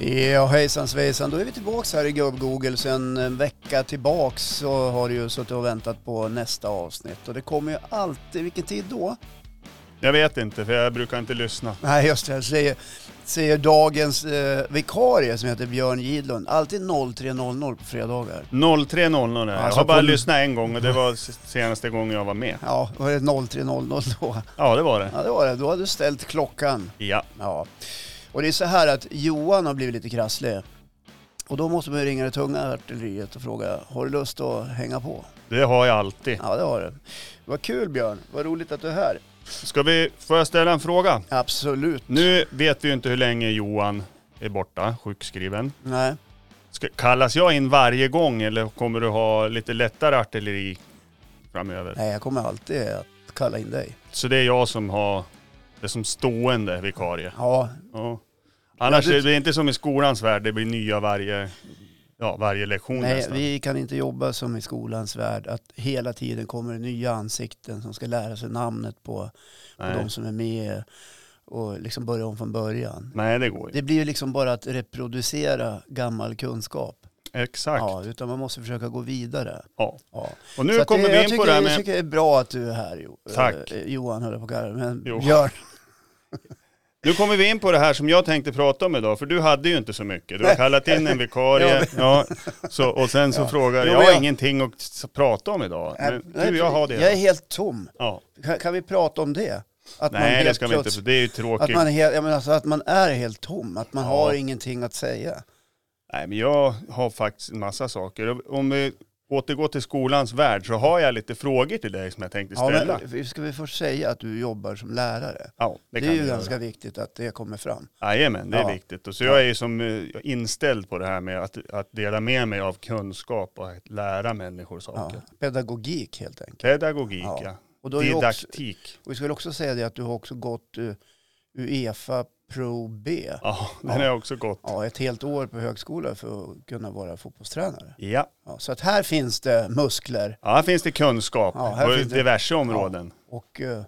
Ja, hejsan svejsan. Då är vi tillbaks här i Gubb-Google. Sen en vecka tillbaks så har du ju suttit och väntat på nästa avsnitt. Och det kommer ju alltid, vilken tid då? Jag vet inte, för jag brukar inte lyssna. Nej, just det. Jag säger, säger dagens eh, vikarie som heter Björn Gidlund. Alltid 03.00 på fredagar. 03.00 är det. Jag Alltså har bara på- lyssnat en gång och det var s- senaste gången jag var med. Ja, var det 03.00 då? Ja, det var det. Ja, det var det. Då hade du ställt klockan. Ja. Ja. Och det är så här att Johan har blivit lite krasslig. Och då måste man ju ringa det tunga artilleriet och fråga, har du lust att hänga på? Det har jag alltid. Ja, det har du. Vad kul Björn, vad roligt att du är här. Ska vi, får jag ställa en fråga? Absolut. Nu vet vi ju inte hur länge Johan är borta, sjukskriven. Nej. Ska, kallas jag in varje gång eller kommer du ha lite lättare artilleri framöver? Nej, jag kommer alltid att kalla in dig. Så det är jag som har det som stående vikarie. Ja, Ja. Annars Ja, det... det- är det inte som i skolans värld, det blir nya varje, ja, varje lektion nej, nästan. vi kan inte jobba som i skolans värld, att hela tiden kommer det nya ansikten som ska lära sig namnet på, på Nej. de som är med och liksom börja om från början. Nej, det går ju. Det blir ju liksom bara att reproducera gammal kunskap. Exakt. Ja. Ja, utan man måste försöka gå vidare. Ja. Och nu Så att kommer det, vi in jag på tycker, det här Jag med... tycker det är bra att du är här jo, Tack. Eh, Johan höll jag på att kalla dig, men Jo. Björn. Nu kommer vi in på det här som jag tänkte prata om idag, för du hade ju inte så mycket. Du har kallat in en vikarie, ja, så, och sen så frågar Jo, jag, men har jag- ingenting att s- prata om idag. Nej, Men Äh, nej, du, jag har det. Jag är helt tom. Ja. Kan, kan vi prata om det? Att Nej, det helt ska vi inte, för plöts- det är ju Att tråkigt. man, är helt, jag menar, alltså, att man är helt tom, att man Ja. har ingenting att säga. Nej, men jag har faktiskt en massa saker. Om vi återgår till skolans värld så har jag lite frågor till dig som jag tänkte Ja, ställa. men, ska vi först säga att du jobbar som lärare? Ja, det Det, kan är vi ju göra. ganska viktigt att det kommer fram. Jajamän, det är Ja. viktigt. Och så jag är ju som eh, inställd på det här med att, att dela med mig av kunskap och att lära människor Ja, saker. pedagogik helt enkelt. Pedagogik, Ja. ja. Och då är ju också, Didaktik. och vi skulle också säga det att du har också gått eh, Uefa Pro B. Ja, Ja. den är också gott. ja, ett helt år på högskola för att kunna vara fotbollstränare. Ja, Ja, så att här finns det muskler ja här finns det kunskap Ja, här på finns det- diverse områden. och eh,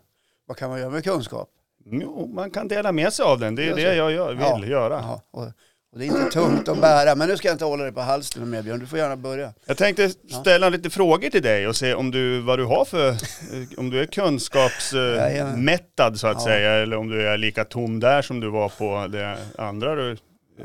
vad kan man göra med kunskap? Jo, man kan dela med sig av den, det är Gör det så. jag gör, vill Ja. göra. Ja, och, och det är inte tungt att bära, men nu ska jag inte hålla dig på halsen mer Björn, du får gärna börja. Jag tänkte ställa lite frågor till dig och se om du, vad du har för, eh, om du är Jajamän. kunskapsmättad så att Ja. säga, eller om du är lika tom där som du var på det andra du,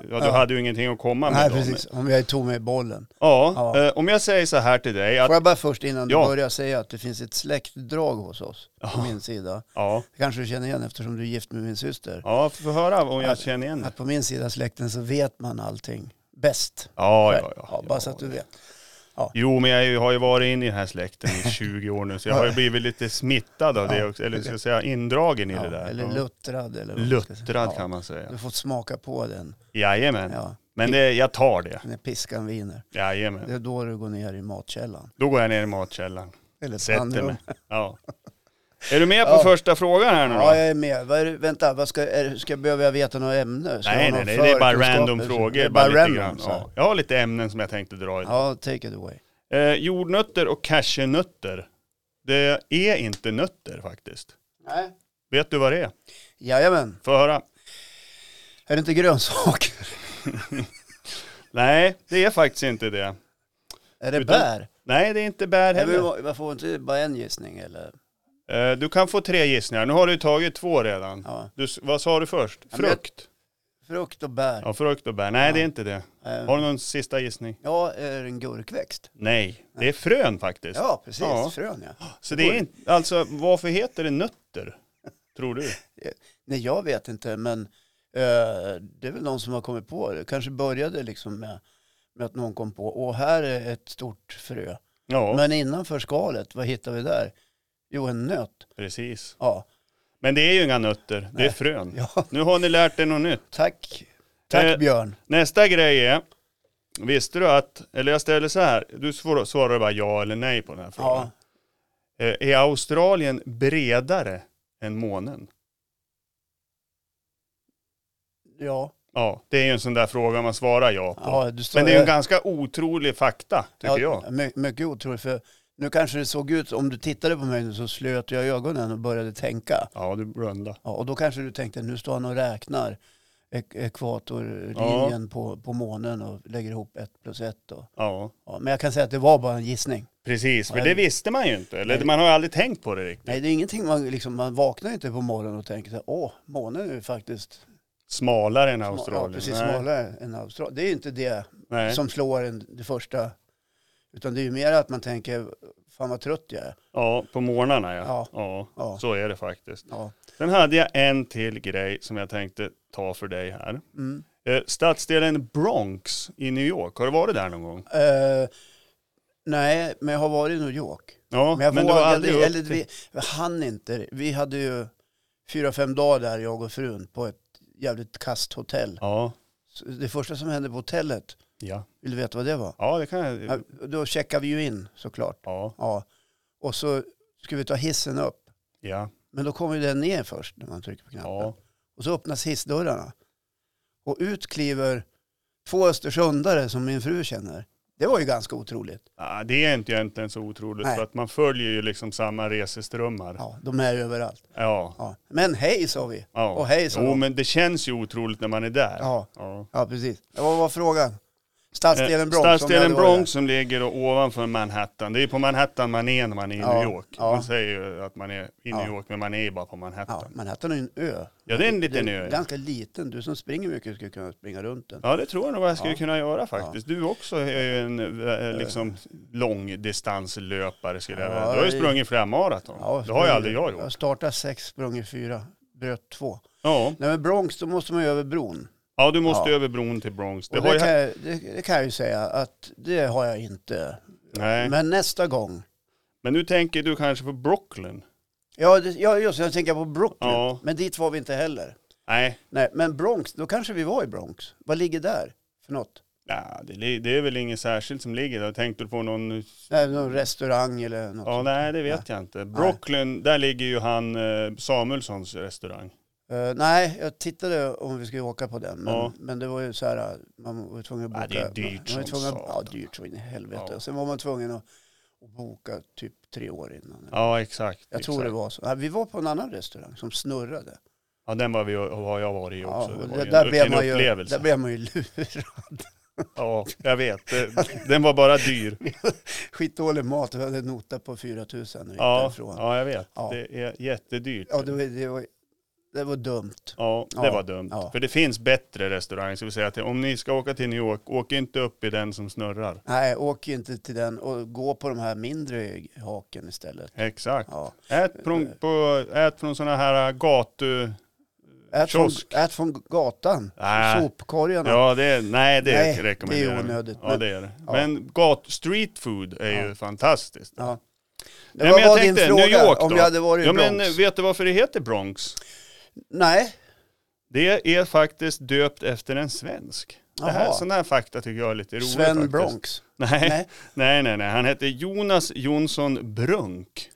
ja du Ja. hade ju ingenting att komma med. Nej, då, precis, om jag är tom i bollen. men- Ja, Ja. eh, om jag säger så här till dig att, Får jag bara först innan Ja. du börjar säga att det finns ett släktdrag hos oss, på min sida. ja, Det kanske du känner igen eftersom du är gift med min syster. ja, få höra om Ja. jag känner igen det. Att på min sida släkten så vet man allting bäst. Ja, ja, ja. bara så att du vet. Jo, men jag är ju- har ju varit inne i den här släkten i 20 år nu, så jag har ju blivit lite smittad av det också, eller ska jag säga indragen i Ja, det där. eller Ja. luttrad eller vad man ska säga. Luttrad Ja, kan man säga. Du får smaka på den. Jajamän. Ja. Men det, jag tar det. När piskan viner. Det Jajamän. är då du går ner i matkällan. Då går jag ner i matkällaren. Eller ett Sätter pannrum. mig. Ja. Är du med på Ja. första frågan här nu då? Ja, jag är med. Vad är, det- vänta, vad ska, är, det- ska, behöver jag veta några ämnen? Ska jag nej, ha nej, några nej, det är bara förkunskaper? random frågor. Det är bara bara lite random, grann. så här. Ja. Jag har lite ämnen som jag tänkte dra idag. Ja, take it away. Eh, jordnötter och cashewnötter. Det är inte nötter faktiskt. Nej. Vet du vad det är? Jajamän. Få höra. Är det inte grönsaker? Nej, det är faktiskt inte det. Är det Utan- bär? Nej, det är inte bär Jag, vill, heller. jag får inte bara en gissning eller? Eh, du kan få tre gissningar. Nu har du ju tagit två redan. Ja. Du, s- vad sa du först? Ja, men jag- Frukt? Frukt och bär. Ja, frukt och bär. Nej, det är inte det. Eh, Har du någon sista gissning? Ja, är det en gurkväxt? Nej, det är frön faktiskt. Ja, precis. Ja. Frön ja. Så det är inte, alltså varför heter det nötter? Tror du? Nej, jag vet inte, men eh, det är väl någon som har kommit på det. Kanske började liksom med, med att någon kom på, åh här är ett stort frö. Ja, Men innanför skalet, vad hittar vi där? Jo, en nöt. precis. Ja, Men det är ju inga nötter, det är Nej. frön. ja Nu har ni lärt er något nytt. tack. Tack Eh, Björn. Nästa grej är, visste du att, eller jag ställer så här, du svår- svarar bara ja eller nej på den här frågan. Ja. Eh, Är Australien bredare än månen? Ja, Ja, det är ju en sån där fråga man svarar ja på. ja du står, Men det är ju en ganska otrolig fakta, tycker jag. My, mycket otroligt, för nu kanske det såg ut, om du tittade på mig nu så slöt jag ögonen och började tänka. Ja, du blundar. Ja, och då kanske du tänkte, nu står han och räknar ek- ekvatorlinjen på, på månen och lägger ihop ett plus ett. Och, Ja, ja, men jag kan säga att det var bara en gissning. precis. För Ja, det jag- visste man ju inte. Eller Nej. man har ju aldrig tänkt på det riktigt. Nej, det är ingenting man, liksom, man vaknar inte på morgonen och tänker så här, åh, månen är ju faktiskt Smalare än sma- Australien. ja, precis Nej, smalare än Australien. Det är ju inte det Nej. som slår en, det första, utan det är ju mer att man tänker, fan vad trött jag är. Ja, på morgnarna ja. Ja. Ja. Ja. så är det faktiskt. Ja. Sen hade jag en till grej som jag tänkte ta för dig här. Mm. Eh, Stadsdelen Bronx i New York, har du varit där någon gång? Eh, nej, men jag har varit i New York. Ja, Men jag men du var vågade, aldrig upp eller till... vi, vi hann inte. Vi hade ju fyra, fem dagar där, jag och frun, på ett jävligt kast hotell. Ja, Så Det första som hände på hotellet, ja. vill du veta vad det var? ja, det kan jag. Ja, Då checkade vi ju in såklart. Ja, Ja. Och så skulle vi ta hissen upp. ja, Men då kommer ju den ner först när man trycker på knappen. ja. Och så öppnas hissdörrarna. Och ut kliver två östersundare som min fru känner. Det var ju ganska otroligt. Ja, Ah, det är inte egentligen så otroligt Nej. för att man följer ju liksom samma reseströmmar. Ja, Ja, de är överallt. ja. Ja. Men hej sa vi. Och hej sa Jo, de. men det känns ju otroligt när man är där. Ja. Ja, precis. Ja, Vad var frågan? Eh, Stadsdelen Bronx. om jag Stadsdelen hade varit Bronx som ligger då ovanför Manhattan. Det är på Manhattan man är när man är i Ja, New York. ja. Man säger ju att man är i Ja. New York, men man är ju bara på där. Ja, Manhattan. Manhattan är ju en ö. Ja, det är en liten Det är ö. Ganska liten. Du som springer mycket skulle kunna springa runt den. Ja, det tror jag nog jag skulle Ja. kunna göra faktiskt. Du också är ju en eh, liksom, långdistanslöpare skulle jag Ja, vilja. Du har ju det- sprungit flera maraton. Ja, det har ju aldrig jag gjort. Jag startade sex, sprung i fyra, bröt två. Ja, Nej men Bronx, då måste man ju över bron. ja du måste Ja. över bron till Bronx. Det Och har det, jag... kan jag, det, det kan jag ju säga att det har jag inte. Nej. Men nästa gång. Men nu tänker du kanske på Brooklyn? Ja, det, ja just det, jag tänker på Brooklyn. Ja. Men dit var vi inte heller. Nej, Nej, men Bronx, då kanske vi var i Bronx. Vad ligger där för något? ja, det, li- det är väl inget särskilt som ligger där. Tänkte du på någon... Nej, någon restaurang eller något. Ja, nej, det vet jag inte. Brooklyn, där ligger ju han eh, Samuelssons restaurang. Eh, nej, jag tittade om vi skulle åka på den. Men, Ja. men det var ju så här, eh, man var ju tvungen att Ja, boka. det är man, man dyrt var ju som tvungen, att- Ja, satan. dyrt så in i helvete. Ja. Och sen var man tvungen att, att boka typ tre år innan. Ja, exakt. jag tror exakt. det var så. Nej, vi var på en annan restaurang som snurrade. Ja, den var vi, har jag varit i Ja, också. och det var det- ju där, en- blev en man ju, upplevelse. där blev man ju lurad. Ja, jag vet. Det- Den var bara dyr. Skitdålig mat. Vi hade nota på 4 000 när vi gick Ja, därifrån. Ja, ja jag vet. Ja. Det är jättedyrt. det, var, det, var, det var dumt. Ja, det Ja, var dumt. ja. För det finns bättre restauranger. Så vi säger att om ni ska åka till New York, åk inte upp i den som snurrar. Nej, åk inte till den och gå på de här mindre haken istället. Exakt. Ja. Ät från, på, ät från sådana här äh, gatu... Ät, från, Kiosk. ät från gatan. Nej. Sopkorgarna. Ja, det är, nej, det Nej, rekommenderar det är jag. onödigt, Ja, men- det är det. ja. Men gat, street food är ju fantastiskt. Ja. Det Nej, var, men jag var tänkte, din fråga New York om då? jag hade varit i Ja, Bronx. men vet du varför det heter Bronx? Nej, Det är faktiskt döpt efter en svensk. Det här, Jaha. sådana här fakta tycker jag är lite roligt Sven faktiskt. Bronx. Nej, Nej. nej, nej, nej. Han hette Jonas Jonsson Brunk.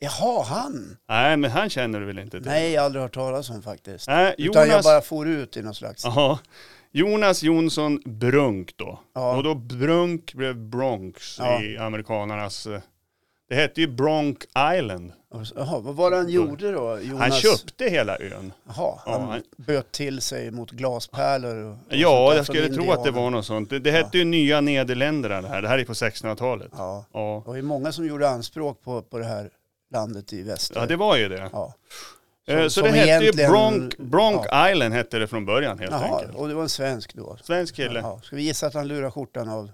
Jaha, han. Nej, men han känner du väl inte till? Nej, jag har aldrig hört talas om faktiskt. Nej, Utan jag Jonas... bara for ut i någon slags. Ja, Jonas Jonsson Brunk då. Ja. Och då Brunk blev Bronx Ja. i amerikanernas... eh, Det hette ju Bronk Island. Jaha, vad var det han gjorde då? Jonas? Han köpte hela ön. Jaha, Ja, han han- böt till sig mot glaspärlor. Och, och sånt Ja, där jag från skulle tro att det indianerna. var något sånt. Det, det hette ju Nya Nederländerna det här. Det här är på 1600-talet. Ja, Ja. och det är många som gjorde anspråk på, på det här landet i väster. ja, det var ju det. Ja. Eh, så som det hette ju egentligen- Bronk, Bronk Island hette det från början helt Jaha, enkelt. och det var en svensk då. Svensk kille. Ja, ska vi gissa att han lurar skjortan av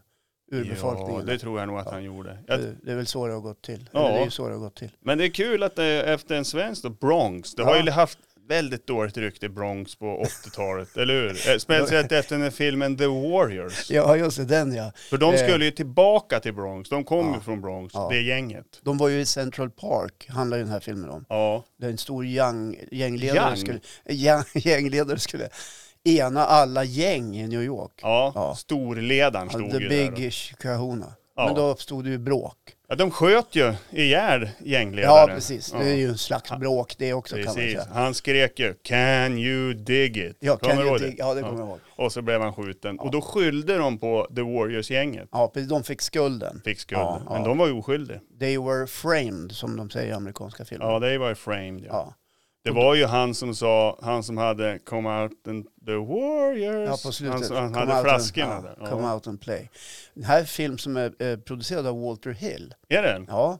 urbefolkningen? Ja, det tror jag nog att han gjorde. Jag, det, det är väl så det har gått till. Ja. Eller det är ju så det har gått till. Men det är kul att det är efter en svensk då, Bronx. Det har ju haft väldigt dåligt rykte Bronx på 80-talet, eller hur? Eh, Speciellt efter den här filmen The Warriors. Ja, just det, den ja. För de Eh. skulle ju tillbaka till Bronx. De kom ju från Bronx, Ja. det gänget. De var ju i Central Park, handlar ju den här filmen om. Ja, Där en stor yang, gängledare, Yang? Skulle, gäng, gängledare skulle ena alla gäng i New York. ja. Ja. storledaren Ja, stod The ju där. Big Kahuna. Ja. Men då uppstod det ju bråk. Ja, de sköt ju ihjäl Ja, gängledaren. precis. Det är ju en slags bråk det också kan man Precis. säga. Han skrek ju “Can you dig it?” Ja, Kommer kan du ju ihåg dig, ja, det kommer jag ihåg. Och så blev han skjuten. Och då skyllde de på The Warriors-gänget. Ja, precis. De fick skulden. Fick skulden. Ja, Men ja. de var ju oskyldiga. They were framed, som de säger i amerikanska filmer. Ja, det var ju framed. Ja. Ja. Det var ju han som sa, han som hade Come Out and the Warriors. Ja, på slutet. Han, som- han Come hade out flaskorna and, där. ja, Come Ja. out and play. Den här är en film som är eh, producerad av Walter Hill. Är det den? Ja,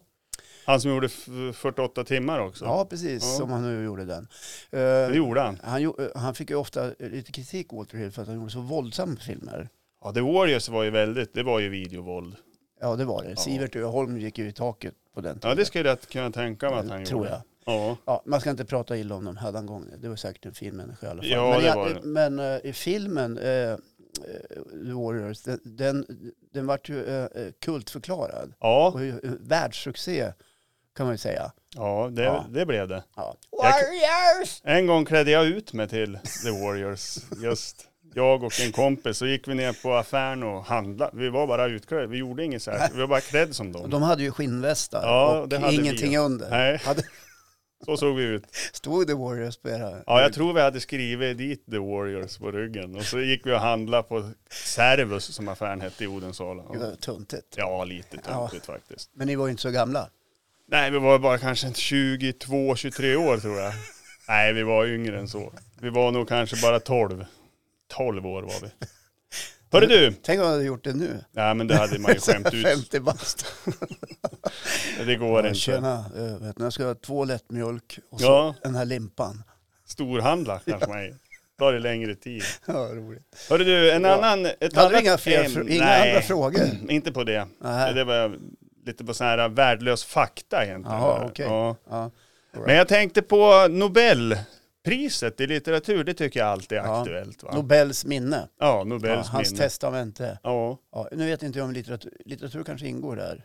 Han som gjorde f- 48 timmar också? ja precis. Ja. Som han nu gjorde den. Eh, Det gjorde han. han, gjo- eh, han fick ju ofta eh, lite kritik, Walter Hill, för att han gjorde så våldsamma filmer. Ja, The Warriors var ju väldigt, det var ju videovåld. Ja, det var det. Sivert Öholm gick ju i taket på den tiden. Ja, det ska jag rätt kunna tänka mig att han Tror gjorde. jag. Ja. Ja, man ska inte prata illa om dem hädangångna. Det var säkert en fin människa i alla fall. Ja, men det jag- var det. men eh, i filmen, eh, eh, The Warriors, den, den, den vart ju eh, eh, kultförklarad. Ja, Och eh, världssuccé kan man ju säga. ja, det, Ja. det blev det. Ja. Jag- Warriors! En gång klädde jag ut mig till The Warriors. Just jag och en kompis. Så gick vi ner på affären och handlade. Vi var bara utklädda. Vi gjorde inget särskilt. Vi var bara klädda som Och dem. de hade ju skinnvästar Ja, och det hade vi. ingenting under. Nej, Hade, så såg vi ut. stod The Warriors på era... Ja, jag tror vi hade skrivit dit The Warriors på ryggen. Och så gick vi och handlade på Servus som affären hette i Odensala. Gud, vad tuntigt. Ja, lite töntigt faktiskt. Men ni var ju inte så gamla. Nej, vi var bara kanske 22, 23 år tror jag. Nej, vi var yngre än så. Vi var nog kanske bara 12. 12 år var vi. Hörru du! Tänk om ni hade gjort det nu. Nej, men det hade man ju skämt ut. 50 bast. Det går inte. Tjena, eh, vet ni, jag ska ha två lättmjölk och så Ja. den här limpan. Storhandla kanske man är. Tar det längre tid. Ja, roligt. Hörru du, en Ja. annan... Ett Hade du annat inga, fler, ämne- fr- inga Nej, andra frågor? inte på det. Nej. Det var lite på sån här värdelös fakta egentligen. Jaha, okej. Ja. Ja. All Men right. jag tänkte på Nobelpriset i litteratur. Det tycker jag alltid är Ja. aktuellt. Va? Nobels minne. Ja, Nobels Ja, hans minne. testamente. Ja, Ja, nu vet inte jag om litteratur, litteratur kanske ingår där.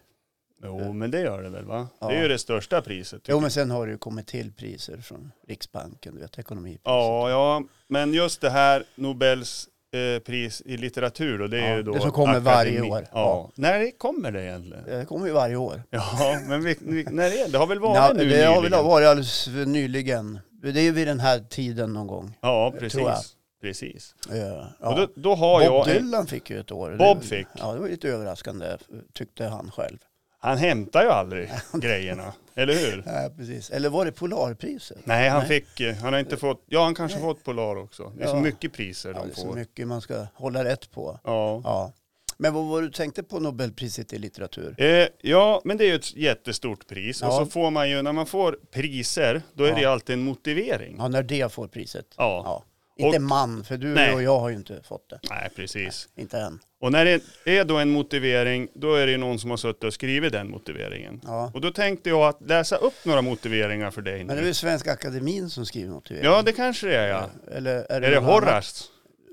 jo, men det gör det väl va? Ja. Det är ju det största priset. typ. tycker Jo, men sen har det ju kommit till priser från Riksbanken, du vet, ekonomipriset. jag. Ja, ja, men just det här Nobels eh, pris i litteratur och det är Ja, ju då det som kommer varje år. Ja. Ja. När kommer det egentligen? Det kommer ju varje år. Ja, men vi, vi, när är det? Det har väl Ja, varit nu det har väl nyligen? varit alldeles nyligen. Det är ju vid den här tiden någon gång. Ja, tror jag. precis. Precis. Eh, Ja. Och då, då har Bob jag... En, Dylan fick ju ett år. Bob fick. Ja, det var lite överraskande, tyckte han själv. han hämtar ju aldrig grejerna, eller hur? Ja, precis. Eller var det Polarpriset? Nej, han fick... eh, Han har inte fått... Ja, han kanske fått Polar också. Det är så Ja. mycket priser Ja, de det är så får. mycket man ska hålla rätt på. Ja. Ja. Men vad var du tänkte på Nobelpriset i litteratur? Eh, ja, men det är ju ett jättestort pris. Och Ja. så får man ju, när man får priser, då är Ja. det alltid en motivering. Ja. Ja, när det får priset. Ja. Inte Och- man, för du Nej. och jag har ju inte fått det. Nej, precis. Inte än. Och när det är då en motivering, då är det ju någon som har suttit och skrivit den motiveringen. Ja. Och då tänkte jag att läsa upp några motiveringar för dig nu. Men det är ju Svenska Akademin som skriver motivering. Ja, det kanske det är ja. Eller är det, Är det någon annan? Horace?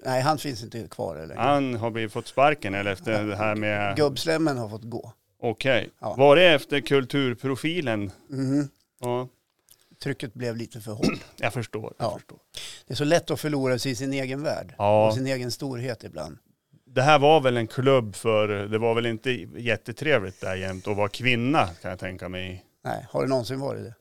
Nej, han finns inte kvar längre. Han har blivit fått sparken eller efter det här med... Gubbslemmen har fått gå. Okej. Ja. Var det efter kulturprofilen? Mhm. Ja, Trycket blev lite för hårt. jag förstår. Jag Ja. förstår. Det är så lätt att förlora sig i sin egen värld Ja. och sin egen storhet ibland. Det här var väl en klubb för, det var väl inte jättetrevligt där jämt att vara kvinna kan jag tänka mig. Nej, har det någonsin varit det?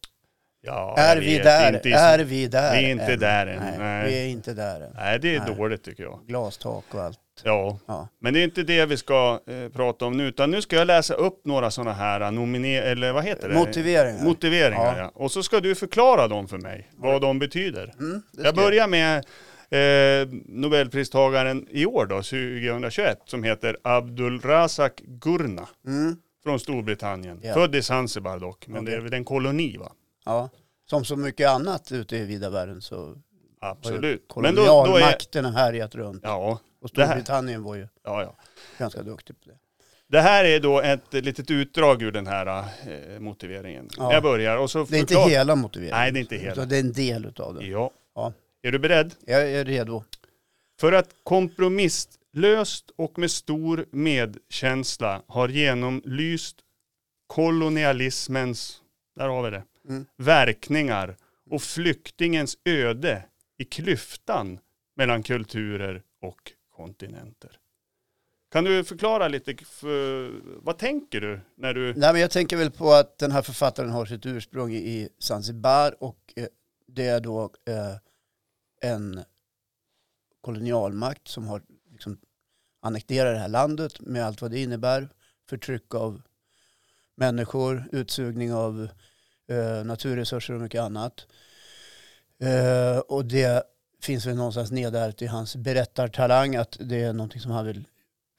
Ja, är, jag vi vet där? inte. är vi där? Vi är inte där än. Nej, Nej. vi är inte där än. Nej, det är Nej. dåligt tycker jag. Glastak och allt. Ja, Ja. men det är inte det vi ska eh, prata om nu, utan nu ska jag läsa upp några sådana här nominer, eller vad heter det? Motiveringar. Motiveringar, ja. Ja. Och så ska du förklara dem för mig, vad de betyder. Mm, det Jag ska börjar med eh, Nobelpristagaren i år då, 2021, som heter Abdulrazak Gurna Mm, från Storbritannien. Ja. Född i Zanzibar dock, men det är Okej. väl en koloni va? ja. Som så mycket annat ute i vida världen så Absolut. har ju Men då, då är... kolonialmakten härjat runt. Ja, Och Det här- Storbritannien var ju ja, ja. ganska duktig på det. Det här är då ett litet utdrag ur den här eh, motiveringen. Ja. Jag börjar och så Det är inte förklar- hela motiveringen. Nej, det är inte hela. Utan det är en del utav den. Ja. Ja. Är du beredd? Jag är redo. För att kompromisslöst och med stor medkänsla har genomlyst kolonialismens, där har vi det, Mm. verkningar och flyktingens öde i klyftan mellan kulturer och kontinenter. Kan du förklara lite, för, vad tänker du när du... Nej, men jag tänker väl på att den här författaren har sitt ursprung i Zanzibar och eh, det är då eh, en kolonialmakt som har liksom annekterat det här landet med allt vad det innebär. Förtryck av människor, utsugning av eh, naturresurser och mycket annat. Eh, och det finns väl någonstans nedärvt i hans berättartalang att det är någonting som han vill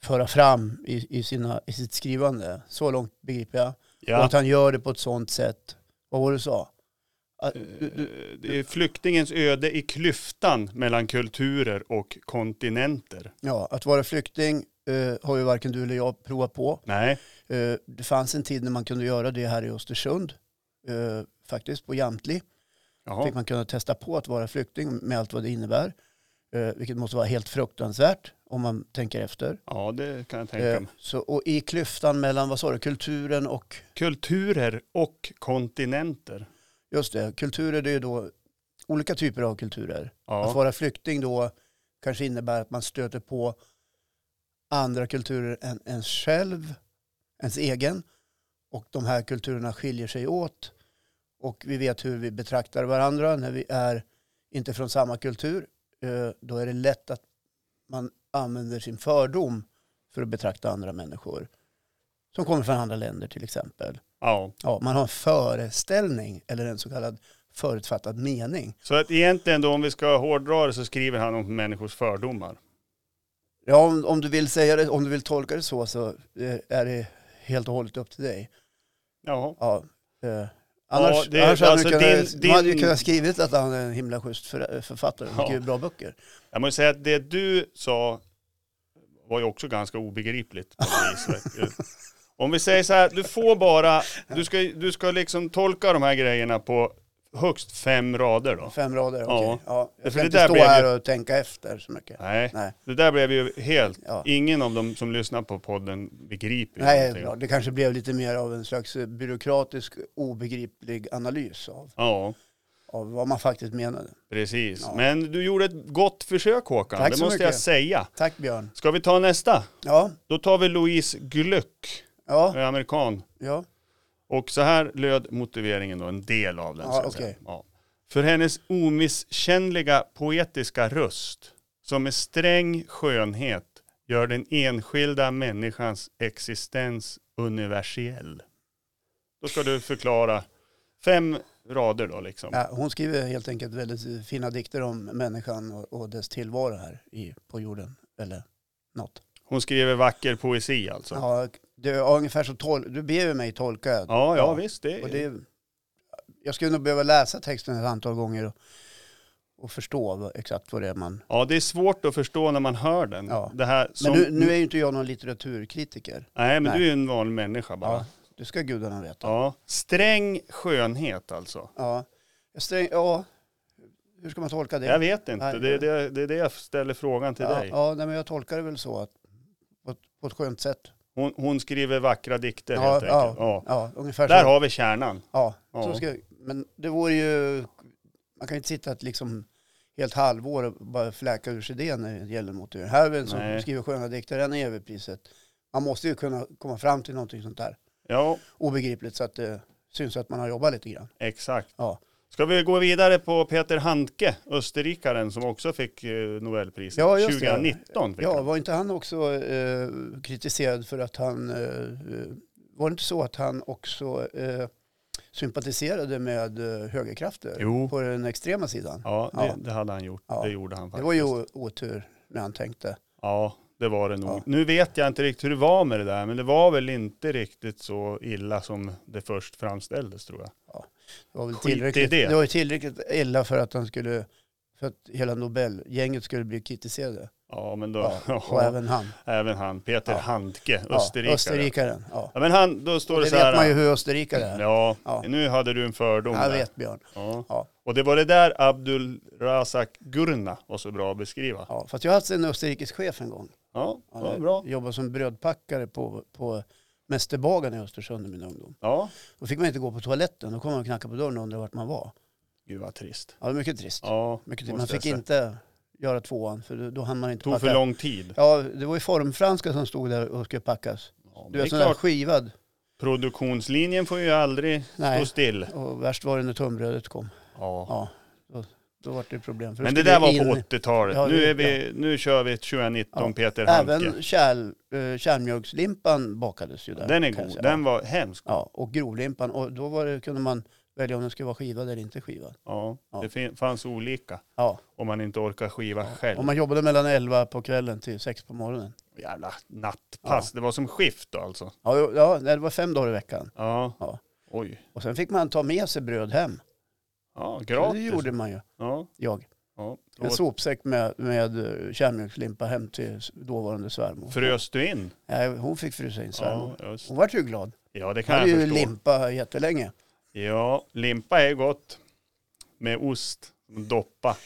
föra fram i, i, sina, i sitt skrivande. Så långt begriper jag. Och Ja. att han gör det på ett sånt sätt. Vad var det du sa? Att, du, du, Eh, det är Flyktingens öde i klyftan mellan kulturer och kontinenter. ja, att vara flykting eh, har ju varken du eller jag provat på. Nej, Eh, det fanns en tid när man kunde göra det här i Östersund. Eh, faktiskt på Jamtli. Jaha. fick man kunna testa på att vara flykting med allt vad det innebär. Eh, vilket måste vara helt fruktansvärt om man tänker efter. ja det kan jag tänka Eh, mig. så, och i klyftan mellan, vad sa du, kulturen och, Kulturer och kontinenter. just det, kulturer det är ju då olika typer av kulturer. Att Ja, vara flykting då kanske innebär att man stöter på andra kulturer än ens själv, ens egen. Och de här kulturerna skiljer sig åt. Och vi vet hur vi betraktar varandra när vi är inte från samma kultur. Eh, Då är det lätt att man använder sin fördom för att betrakta andra människor. Som kommer från andra länder till exempel. ja. Ja, man har en föreställning eller en så kallad förutfattad mening. Så att egentligen då om vi ska hårdra det så skriver han om människors fördomar. Ja, om, om du vill säga det, om du vill tolka det så, så eh, är det helt och hållet upp till dig. Jaha. Ja. Eh, annars det- annars hade, alltså du kunnat, din- du hade ju din- kunnat skrivit att han är en himla schysst för, författare. Ja. Mycket bra böcker. Jag måste säga att det du sa var ju också ganska obegripligt. På något vis. Om vi säger så här, du får bara, du ska, du ska liksom tolka de här grejerna på högst fem rader då. Fem rader, Ja. okej. Ja. För Jag ska det inte där stå blev här och tänka efter så mycket. Nej, Nej. det där blev ju helt, Ja. ingen av dem som lyssnar på podden begriper ju Nej, det, är någonting. bra. det kanske blev lite mer av en slags eh, byråkratisk, obegriplig analys av, Ja, av vad man faktiskt menade. precis. Ja. Men du gjorde ett gott försök Håkan, Tack det så måste jag mycket. säga. Tack Björn. Ska vi ta nästa? Ja, Då tar vi Louise Glück, ja, en amerikan. ja. Och så här löd motiveringen då, en del av den. Ja, ska jag okej. säga. Ja. För hennes omisskännliga poetiska röst, som med sträng skönhet gör den enskilda människans existens universell. Då ska du förklara fem rader då liksom. Ja, hon skriver helt enkelt väldigt fina dikter om människan och, och dess tillvaro här i, på jorden. Eller något. Hon skriver vacker poesi alltså. Ja, Ja, det, ja, ungefär så tol, du ber ju mig tolka. ja, Ja. visst. Det, Och det, jag skulle nog behöva läsa texten ett antal gånger och, och förstå vad, exakt vad det är man... Ja, det är svårt att förstå när man hör den. Ja. Det här som, Men nu, nu är ju inte jag någon litteraturkritiker. Nej, men Nej. du är ju en vanlig människa bara. Ja, det ska gudarna veta. Ja, sträng skönhet alltså. Ja. Jag sträng, ja. Hur ska man tolka det? Jag vet inte, Nej, det är det, det, är det jag ställer frågan till ja, dig. ja, nej, men jag tolkar det väl så att, på, ett, på ett skönt sätt. Hon, hon skriver vackra dikter Ja, helt ja. enkelt. Ja. Ja, ungefär Där så. har vi kärnan. Ja, Ja. Så ska, men det vore ju... Man kan ju inte sitta ett liksom helt halvår och bara fläka ur sig det när det gäller motivering. Här är väl en som Nej. skriver sköna dikter, den är överpriset. Man måste ju kunna komma fram till någonting sånt där Ja, obegripligt så att det syns att man har jobbat lite grann. exakt. Ja, Ska vi gå vidare på Peter Handke, österrikaren som också fick eh, Nobelpriset Ja, just det. 2019. Fick ja han. var inte han också eh, kritiserad för att han... Eh, var det inte så att han också eh, sympatiserade med eh, högerkrafter Jo, på den extrema sidan? ja, det, Ja. det hade han gjort. Ja. Det gjorde han det faktiskt. var ju o- otur när han tänkte. Ja, det var det nog. Ja. Nu vet jag inte riktigt hur det var med det där, men det var väl inte riktigt så illa som det först framställdes tror jag. Det var, väl Skit i tillräckligt, det. det. var ju tillräckligt illa för att han skulle för att hela Nobelgänget skulle bli kritiserade. Ja, men då... Ja, Ja, och även han. Även han, Peter Ja. Handke, Ja, österrikare. Ja, österrikaren. Ja. men han, då står det, Det så här. vet äh, man ju hur österrikare är. Ja, Ja. nu hade du en fördom Jag där. vet Björn. Ja. Ja. Och det var det där Abdul Razak Gurna var så bra att beskriva. Ja, Ja, fast jag har haft en österrikisk chef en gång. det var bra. jobbade som brödpackare på, på Mästerbagaren i Östersund i min ungdom. Ja, Då fick man inte gå på toaletten. Då kom man och knackade på dörren och undrade vart man var. gud vad trist. Ja, det var mycket trist. Ja, mycket trist. Man måste fick jag säga. inte göra tvåan för då, då hann man inte Tog för lång tid. Ja, det var ju formfranska som stod där och skulle packas. Ja, Du det är vet sån där klart, skivad. produktionslinjen får ju aldrig stå Nej, still. och värst var det när tunnbrödet kom. Ja. Ja, då, då var det problem. För då Men det skulle där var in- på 80-talet. Ja, nu, det- är vi, nu kör vi ett 2019 Ja. Peter Handke. Även kärl, eh, kärnmjölkslimpan bakades ju där. Den är kan jag god. säga. Den var hemsk. Ja, och grovlimpan. Och då var det, kunde man välja om den skulle vara skivad eller inte skivad. Ja, Ja. det fin- fanns olika Ja. om man inte orkar skiva själv. Om man jobbade mellan 11 på kvällen till 6 på morgonen. Jävla nattpass, det var som skift då alltså. Ja, jo, ja, nej, det var fem dagar i veckan. Ja. Ja. Oj. Och sen fick man ta med sig bröd hem. Ja, Ja, det gratis. gjorde man ju, Ja, jag. ja. En sopsäck med, med eh, kärnmjölkslimpa hem till dåvarande svärmor. Frös du in? Nej, hon fick frysa in svärmor. Ja, just. Hon vart ju glad. ja, det Hon kan hade jag ju förstå. limpa jättelänge. Ja, limpa är gott. Med ost. Doppa.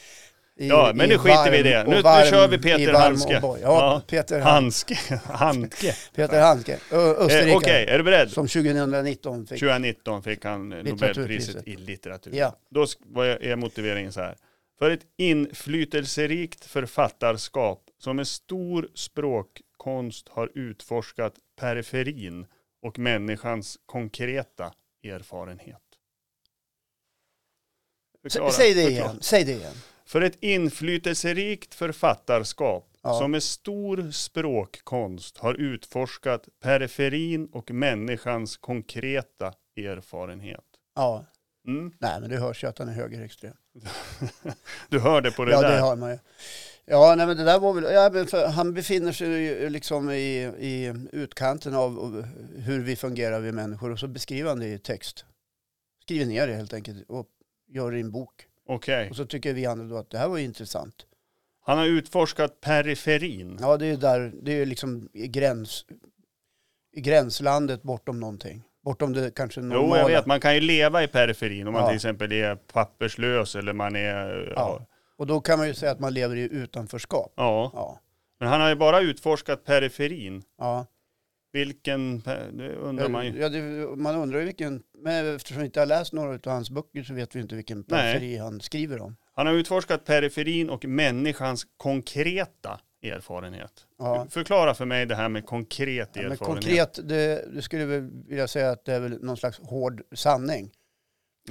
I, Ja, men i nu skiter vi i varm- det. och Nu- nu varm- kör vi Peter i varm och Handske. boj. Ja, Ja. Peter, Han, Handske. Handke. Eh, Peter Handske. Ö, Österrikare. Okej, är du beredd? Som 2019 fick. 2019 fick han eh, Nobelpriset Litteraturpriset. i litteratur. Ja. Då sk- var jag- är motiveringen så här. För ett inflytelserikt författarskap som med stor språkkonst har utforskat periferin och människans konkreta erfarenhet. S- Förklara, Säg det förklara. igen. Säg det igen. För ett inflytelserikt författarskap Ja. som med stor språkkonst har utforskat periferin och människans konkreta erfarenhet. Ja, Mm. nej men det hörs ju att han är högerextrem. Du hörde på det Ja, där. det har man ju. Ja, nej, men det där var väl, ja, men för han befinner sig ju liksom i, i utkanten av av hur vi fungerar vi människor och så beskriver han det i text. Skriver ner det helt enkelt och gör det i en bok. Okej. Och så tycker vi andra då att det här var ju intressant. Han har utforskat periferin. Ja, det är ju där, det är ju liksom i, gräns, i gränslandet bortom någonting. Bortom det kanske normala. Jo, jag vet. Man kan ju leva i periferin om man Ja. till exempel är papperslös eller man är... Ja. Ja. Och då kan man ju säga att man lever i utanförskap. ja. Ja, Men han har ju bara utforskat periferin. ja. Vilken... per- Det undrar man ju. Ja, det, man undrar ju vilken, men eftersom vi inte har läst några av hans böcker så vet vi inte vilken Nej. periferi han skriver om. Han har utforskat periferin och människans konkreta erfarenhet. Ja. Förklara för mig det här med konkret Ja, men erfarenhet. konkret, det, det skulle väl vilja säga att det är väl någon slags hård sanning.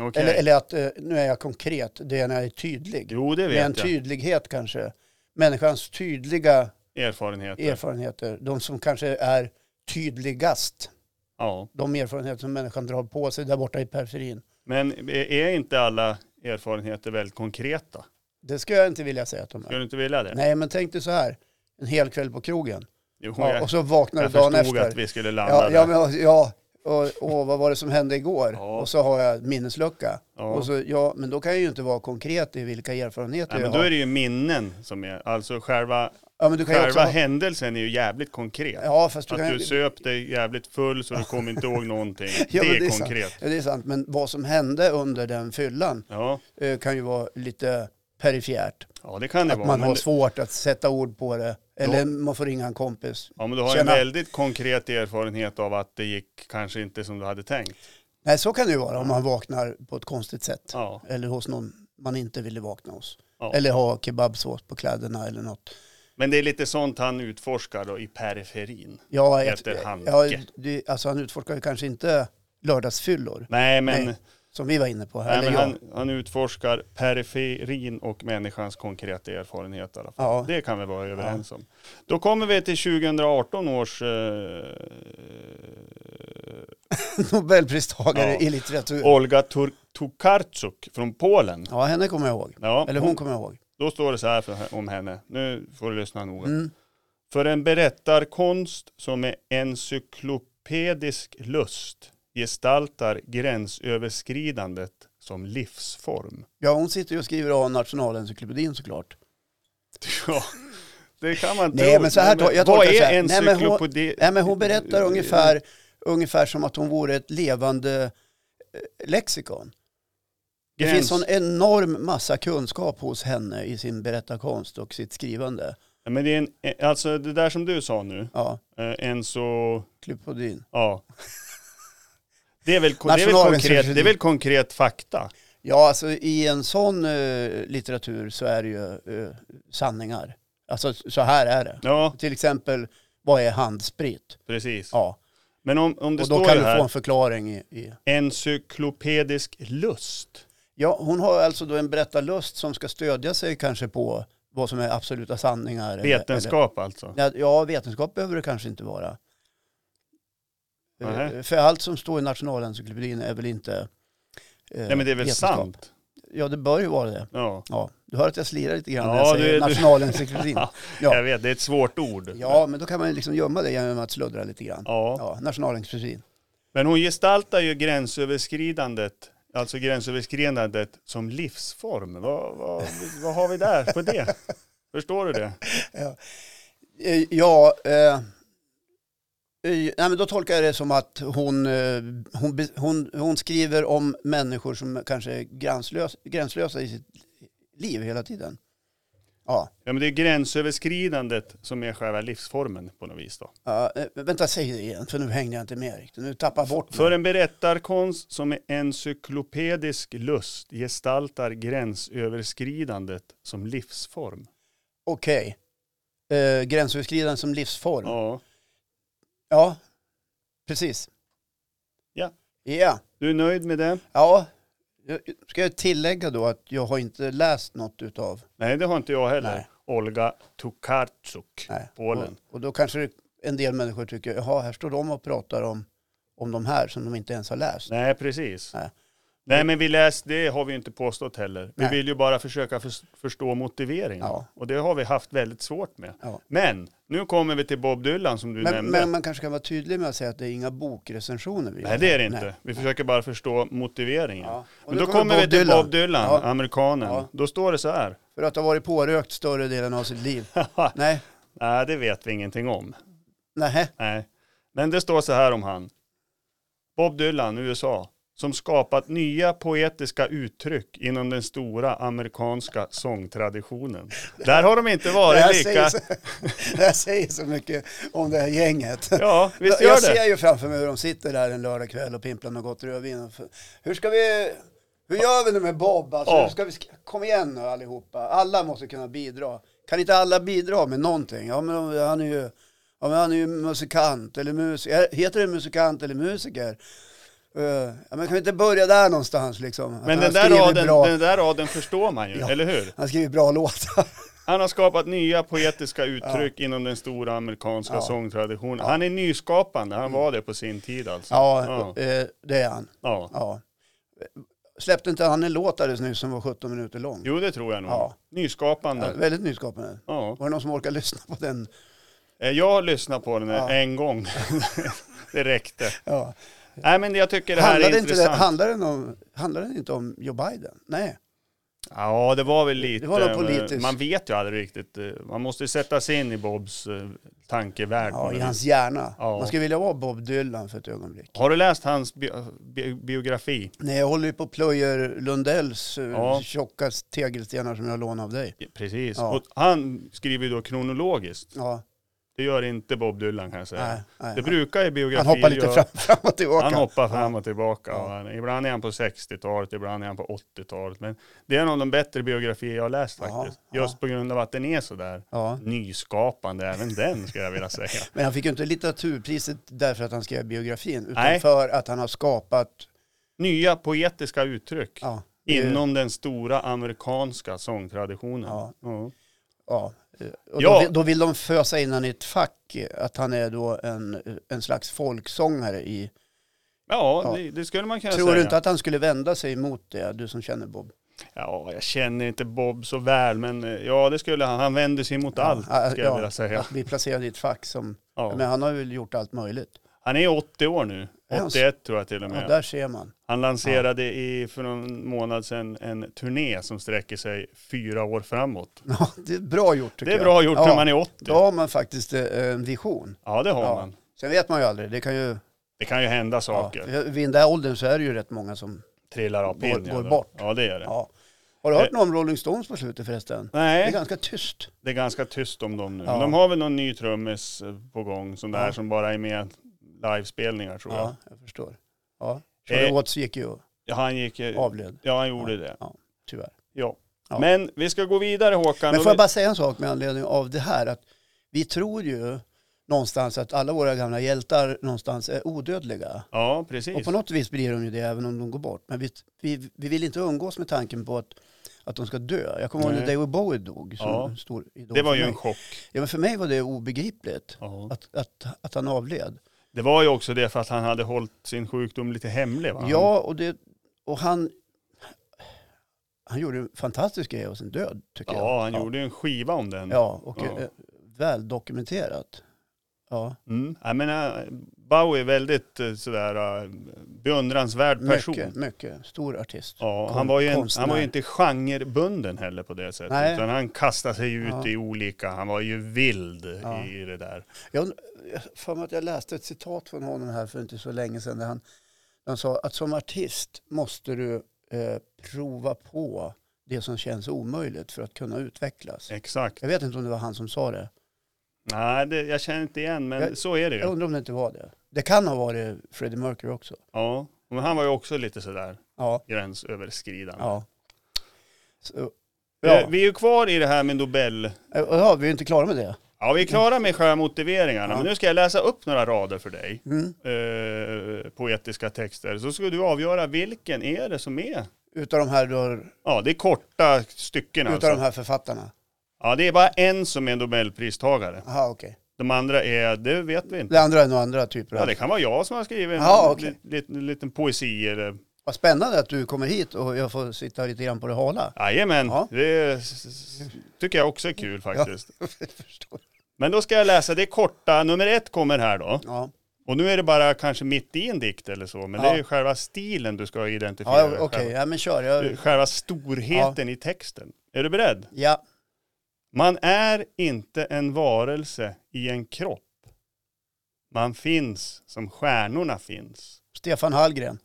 Okej. Eller, eller att eh, nu är jag konkret, det är när jag är tydlig. jo, det Med en typ- vet jag. tydlighet kanske. Människans tydliga Erfarenheter. erfarenheter, de som kanske är tydligast. ja. De erfarenheter som människan drar på sig där borta i periferin. Men är inte alla erfarenheter väldigt konkreta? Det skulle jag inte vilja säga att de Skulle är. du inte vilja det? Nej, men tänk dig så här, en hel kväll på krogen. Jo, Ja, jag, och så vaknar du dagen jag förstod efter. att vi skulle landa ja, ja, där. men, ja, och, och vad var det som hände igår? Ja. Och så har jag minneslucka. Ja. Och så, ja, men då kan jag ju inte vara konkret i vilka erfarenheter Nej, men jag då har. är det ju minnen som är, alltså själva, ja, men du kan ju också själva ha, händelsen är ju jävligt konkret. ja, fast du att kan du ju, söp dig jävligt full så du kom inte ihåg någonting. Ja, det men är det är sant. konkret. ja, det är sant, men vad som hände under den fyllan Ja. eh, kan ju vara lite perifert. ja, det kan det Att vara. man men har det- svårt att sätta ord på det. Eller Ja. man får ringa en kompis. Ja, men du har Tjena. en väldigt konkret erfarenhet av att det gick kanske inte som du hade tänkt. Nej, så kan det ju vara om man vaknar på ett konstigt sätt. Ja, Eller hos någon man inte ville vakna hos. ja. Eller ha kebabsås på kläderna eller något. Men det är lite sånt han utforskar då i periferin. Ja, Peter jag- Handke. ja, det, alltså han utforskar ju kanske inte lördagsfyllor, Nej, men, Nej, nej, som vi var inne på här. men eller jag. han, han utforskar periferin och människans konkreta erfarenhet i alla fall. ja, Det kan vi vara överens om. Då kommer vi till 2018 års... Eh, Nobelpristagare Ja. i litteratur. Olga Tur- Tokarczuk från Polen. Ja, henne kommer jag ihåg. Ja, Eller hon kommer jag ihåg. Då står det så här för, om henne. Nu får du lyssna noga. Mm. För en berättarkonst som med encyklopedisk lust gestaltar gränsöverskridandet som livsform. Ja, hon sitter ju och skriver av Nationalencyklopedin såklart. Ja, det kan man Nej, tro. men så här tar- jag vad tolkar det så är här. Nej, men hon- äh, encyklopedi? Nej, men hon berättar ungefär, ungefär som att hon vore ett levande eh, lexikon. Det Gräns- finns en enorm massa kunskap hos henne i sin berättarkonst och sitt skrivande. Ja, Men det är en, alltså det där som du sa nu, Ja, eh, en så, Klipodin. ja. Det är, väl, det, är väl konkret, det är väl konkret fakta? Ja, alltså i en sån eh, litteratur så är det ju eh, sanningar. Alltså så här är det. Ja, Till exempel, vad är handsprit? precis. Ja, Men om, om det och då står kan ju du få här, en förklaring i, i... encyklopedisk lust. Ja, hon har alltså då en berättarlust som ska stödja sig kanske på vad som är absoluta sanningar. eller- Vetenskap alltså. Eller, Nej, ja, vetenskap behöver det kanske inte vara. Eh, Nähä. För allt som står i Nationalencyklopedin är väl inte eh, Nej men det är väl vetenskap. sant? Ja, det bör ju vara det. Ja. Ja, du hör att jag slirar lite grann när Ja, jag du- säger du- nationalencyklopedin. Ja. Jag vet, det är ett svårt ord. Ja, men då kan man ju liksom gömma det genom att sluddra lite grann. Ja. Ja, nationalencyklopedin. Men hon gestaltar ju gränsöverskridandet, alltså gränsöverskridandet som livsform. Vad, vad, vad har vi där på det? Förstår du det? Eh, Ja, eh, eh, nej, men då tolkar jag det som att hon, eh, hon, be- hon, hon skriver om människor som kanske är gränslösa, gränslösa i sitt liv hela tiden. Ja, Ja, men det är gränsöverskridandet som är själva livsformen på något vis då. ja, eh, vänta, säg det igen, för nu hängde jag inte med riktigt. Nu tappar jag bort För mig. en berättarkonst som med encyklopedisk lust gestaltar gränsöverskridandet som livsform. Okej. Eh, gränsöverskridande som livsform. Ja. Ja, precis. Ja. Ja. Du är nöjd med det? Ja, jag- ska jag tillägga då att jag har inte läst något utav Nej, det har inte jag heller. Nej. Olga Tokarczuk, nej. Polen. Och, och då kanske det- en del människor tycker, jaha, här står de och pratar om, om de här som de inte ens har läst. Nej, precis. Nej. Nej. men vi läste, det har vi ju inte påstått heller. Vi Nej. vill ju bara försöka förs- förstå motiveringen. Ja. Och det har vi haft väldigt svårt med. Ja. Men nu kommer vi till Bob Dylan som du Men, nämnde. men man kanske kan vara tydlig med att säga att det är inga bokrecensioner vi Nej, det är det inte. Vi försöker bara förstå motiveringen. Ja. Och Men nu då kommer vi Bob till Dylan. Bob Dylan, Ja. amerikanen. Ja. Då står det så här. För att ha varit pårökt större delen av sitt liv. Nej, Nej, det vet vi ingenting om. nej. Nej. Men det står så här om han. Bob Dylan, USA, som skapat nya poetiska uttryck inom den stora amerikanska sångtraditionen. Där har de inte Det varit här, lika... säger så, det här säger så mycket om det här gänget. Ja, visst jag gör det. ser ju framför mig hur de sitter där en lördagkväll och pimplar något gott rödvin. Och för- Hur ska vi... Hur gör vi nu med Bob? Alltså, Ja. hur ska vi, sk- kom igen nu allihopa. Alla måste kunna bidra. Kan inte alla bidra med någonting? Ja, men han är ju, ja, men han är ju musikant eller musiker. Heter det musikant eller musiker? Eh, ja, men kan vi inte börja där någonstans liksom? Att Men han den där, skriver raden, bra, den där raden förstår man ju, Ja. eller hur? Han skriver bra låtar. Han har skapat nya poetiska uttryck inom den stora amerikanska Ja. Mm. sångtraditionen. Han är nyskapande, han var det på sin tid alltså. Ja, ja. eh, det är han. ja. Ja. Släppte inte han en låt alldeles nyss som var 17 minuter lång? Jo, det tror jag nog. Ja. Ja, Nyskapande. väldigt nyskapande. Ja. Var det någon som orkar lyssna på den? Eh, Jag har lyssnat på den Ja. en gång. det räckte. Ja. Nej, men jag tycker det här Handlade, är inte det, intressant. handlade, den om, handlade den inte om Joe Biden? Nej. Ja, det var väl lite... eh, var något politiskt. Man vet ju aldrig riktigt. eh, Man måste ju sätta sig in i Bobs eh, tankevärld. Ja, i hans hjärna. Ja. Man skulle vilja vara Bob Dylan för ett ögonblick. Har du läst hans bi bi biografi? Nej, jag håller ju på och plöjer Lundells ja. Ja. tjocka tegelstenar som jag lånade av dig. Precis. Ja. Och han skriver ju då kronologiskt. Ja, Det gör inte Bob Dylan kan jag säga. nej, nej. Det brukar ju biografier Han hoppar lite göra. fram, fram och tillbaka. Han hoppar fram och tillbaka. Ja. och han- Ibland är han på 60-talet, ibland är han på 80-talet. Men det är en av de bättre biografier jag har läst Ja, faktiskt. ja. Just på grund av att den är sådär Ja. nyskapande, även den skulle jag vilja säga. Men han fick ju inte litteraturpriset därför att han skrev biografin, utan Nej. för att han har skapat... Nya poetiska uttryck Ja, inom den stora amerikanska sångtraditionen. Ja. Ja. Ja. eh, Och Ja. Då, vill, då vill de fösa in han i ett fack, eh, att han är då en, en slags folksångare i... Ja, Ja. Det, det skulle man kunna Tror säga. du inte att han skulle vända sig emot det, du som känner Bob? Ja, jag känner inte Bob så väl, men eh, ja, det skulle han. Han vänder sig mot allt, Ja, skulle ja, jag vilja säga. Att bli placerad i ett fack som... Ja. Men han har väl gjort allt möjligt. Han är 80 år nu. Är han så? 81 tror jag till och Ja, med. där ser man. Han lanserade i, för någon månad sedan en turné som sträcker sig fyra år framåt. Ja, det är bra gjort tycker Det är jag. bra gjort ja. när man är 80. Då har man faktiskt eh, en vision. Ja, det har Ja. man. Sen vet man ju aldrig, det kan ju... Det kan ju hända Ja, saker. för vid den där åldern så är det ju rätt många som... Trillar av pinnen. Går- går då. bort. Ja, det gör det. Ja. Har du hört något om Rolling Stones på slutet förresten? Det är Nej, ganska tyst. det är ganska tyst om dem nu. Ja. Men de har väl någon ny trummis eh, på gång, sån där Ja. som bara är med livespelningar tror Ja, jag förstår. Ja. Charlie Eh. Watts gick ju och jag. Han gick, eh, avled, ja han gjorde det. tyvärr. Ja. Ja. Men vi ska gå vidare Håkan. Men Och får jag vi- bara säga en sak med anledning av det här? Att vi tror ju någonstans att alla våra gamla hjältar någonstans är odödliga. Ja, Och precis. på något vis blir de ju det även om de går bort. Men vi, vi, vi vill inte umgås med tanken på att, att de ska dö. Jag kommer ihåg när Nej. David Bowie dog. Som Ja. en stor idol Det var för ju mig. en chock. Ja, men för mig var det obegripligt Ja. att, att, att han avled. Det var ju också det för att han hade hållit sin sjukdom lite hemlig va? Ja, och, det, och han han gjorde en fantastisk grej av sin död tycker jag. Ja, han gjorde ju en skiva om den. Ja, och Ja. eh, väl dokumenterat. Ja, Mm. Jag menar, Bowie är väldigt eh, sådär eh, beundransvärd person. mycket, mycket. Stor artist. Ja, Kon- han, var ju en, konstnär. han var ju inte genrebunden heller på det sättet. Nej. Utan han kastade sig ut Ja. i olika, han var ju vild Ja. i det där. Jag und- jag har för mig att jag läste ett citat från honom här för inte så länge sedan. Där han, han sa att som artist måste du eh, prova på det som känns omöjligt för att kunna utvecklas. Exakt. Jag vet inte om det var han som sa det. Nej, det, jag känner inte igen, men Jag- så är det Jag ju. undrar om det inte var det. Det kan ha varit Freddie Mercury också. Ja. Men han var ju också lite sådär Ja. gränsöverskridande. ja. Så, Eh, ja. Vi är ju kvar i det här med Nobel. Eh, ja, vi är inte klara med det. Ja, vi är klara med själva motiveringarna, Ja. men nu ska jag läsa upp några rader för dig. Mm. Eh, poetiska texter. Så ska du avgöra vilken är det som är. Utav de här, då, Ja, det är korta stycken utav alltså. de här författarna. Ja, det är bara en som är Nobelpristagare. Aha, okej. De andra är, det vet vi inte. Det andra är nog andra typer Ja, av... det kan vara jag som har skrivit en Ja, okej. li- liten, liten poesi eller... Vad spännande att du kommer hit och jag får sitta lite grann på det hala. Jajamän, Ja. det s- s- tycker jag också är kul faktiskt. Jag förstår. Men då ska jag läsa, det är korta, nummer ett kommer här då. Ja, Och nu är det bara kanske mitt i en dikt eller så, men det Ja. är ju själva stilen du ska identifiera. ja okej. själva, Ja, men kör. Jag, själva storheten i texten. Är du beredd? ja, Man är inte en varelse i en kropp. Man finns som stjärnorna finns. Stefan Hallgren.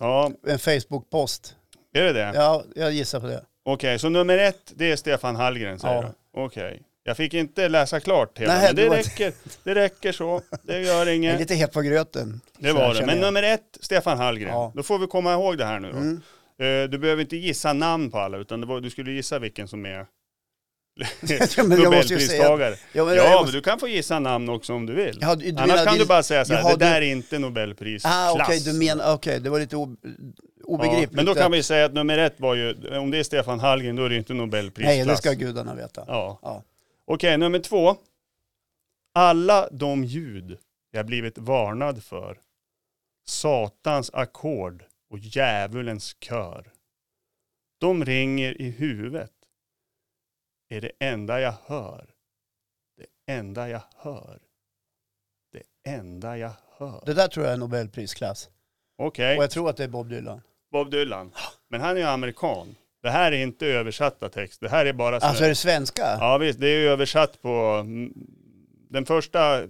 Ja, En Facebook-post. är det det? Ja, jag gissar på det. Okej, så nummer ett, det är Stefan Hallgren säger Ja. du? Okej. Jag fick inte läsa klart hela, Nej, men det det var- räcker, det räcker så. Det gör Jag är inget. lite het på gröten. Det var det. känner Men jag. nummer ett, Stefan Hallgren. Ja. Då får vi komma ihåg det här nu då. Mm. Eh, Du behöver inte gissa namn på alla, utan det var, du skulle gissa vilken som är jag måste ju Nobelpristagare. Ja, men, jag Ja, men måste, du kan få gissa namn också om du vill. Ja, du- du Annars menar kan din- du bara säga så här, Jaha, det där du- är inte Nobelprisklass. ah, okej, du menar, okej, det var lite ob, Ja, obegripligt. men då kan vi säga att nummer ett var ju, om det är Stefan Hallgren då är det inte Nobelprisklass. Nej, det ska gudarna veta. Ja. Ja. Okej, nummer två. Alla de ljud jag blivit varnad för. Satans ackord och djävulens kör. De ringer i huvudet. Är det enda jag hör. Det enda jag hör. Det enda jag hör. Det där tror jag är Nobelprisklass. Okej, Och jag tror att det är Bob Dylan. Bob Dylan. Men han är ju amerikan. Det här är inte översatta text. Det här är bara så här- Alltså är det svenska? Ja visst, det är ju översatt på mm, den första,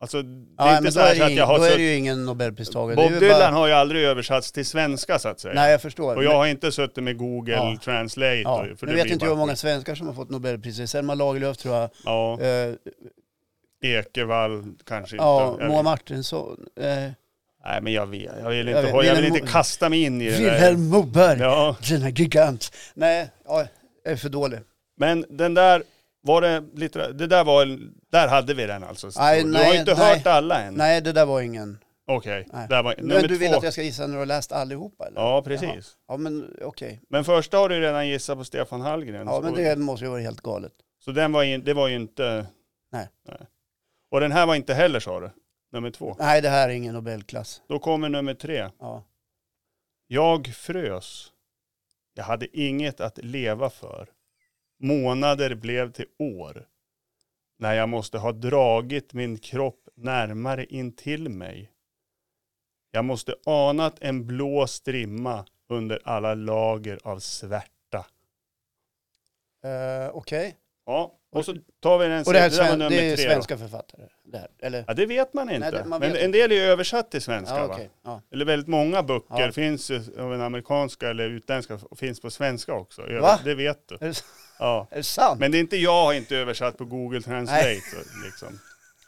alltså det Ja, är men inte då så, här är, så det, att ing- jag har då är suttit, det ju ingen Nobelpristagare. det Bob är ju Dylan bara- har ju aldrig översatts till svenska så att säga. Nej, jag förstår. och jag har inte suttit med Google Ja. Translate. Ja, och- för nu det vet blir inte bara- hur många svenskar som har fått Nobelpriset. Selma Lagerlöf tror jag. Ja, Eh, Ekevall kanske inte. ja, Jag Moa vet- Martinsson. Eh, Nej men jag vet, jag vill Jag vet, inte, ha- jag vill Wilhelm inte Mo- kasta mig in i det där. Wilhelm Moberg, Ja, denna gigant. Nej, ja, jag är för dålig. Mm. men den där, var det lite, det där var, en- där hade vi den alltså. Nej, du har nej, inte nej. hört alla än. Nej, det där var ingen. Okej, Nej. där var, nummer Men du vill två. att jag ska gissa när du har läst allihopa? Eller? Ja, precis. Jaha. Ja, men okej. Men första har du redan gissat på Stefan Hallgren. Ja, men det måste ju vara helt galet. Så den var ju, det var ju inte... Nej. Och den här var inte heller sa du, nummer två. Nej, det här är ingen Nobelklass. Då kommer nummer tre. Ja. Jag frös. Jag hade inget att leva för. Månader blev till år. När jag måste ha dragit min kropp närmare in till mig. Jag måste anat en blå strimma under alla lager av svärta. Eh, okej. Ja, och så tar vi den Och det här är, sista, var sven- nummer det är tre då. svenska författare? Det här, eller? Ja, det vet man inte. det- man men vet en del är ju översatt till svenska. Ja, va? okej. ja. Eller väldigt många böcker Ja. finns ju av en amerikanska eller utländska och finns på svenska också. Över- Va? Det vet du. Är, det, Ja. är det sant? Men det är inte jag har inte översatt på Google Translate. Nej. så, Liksom.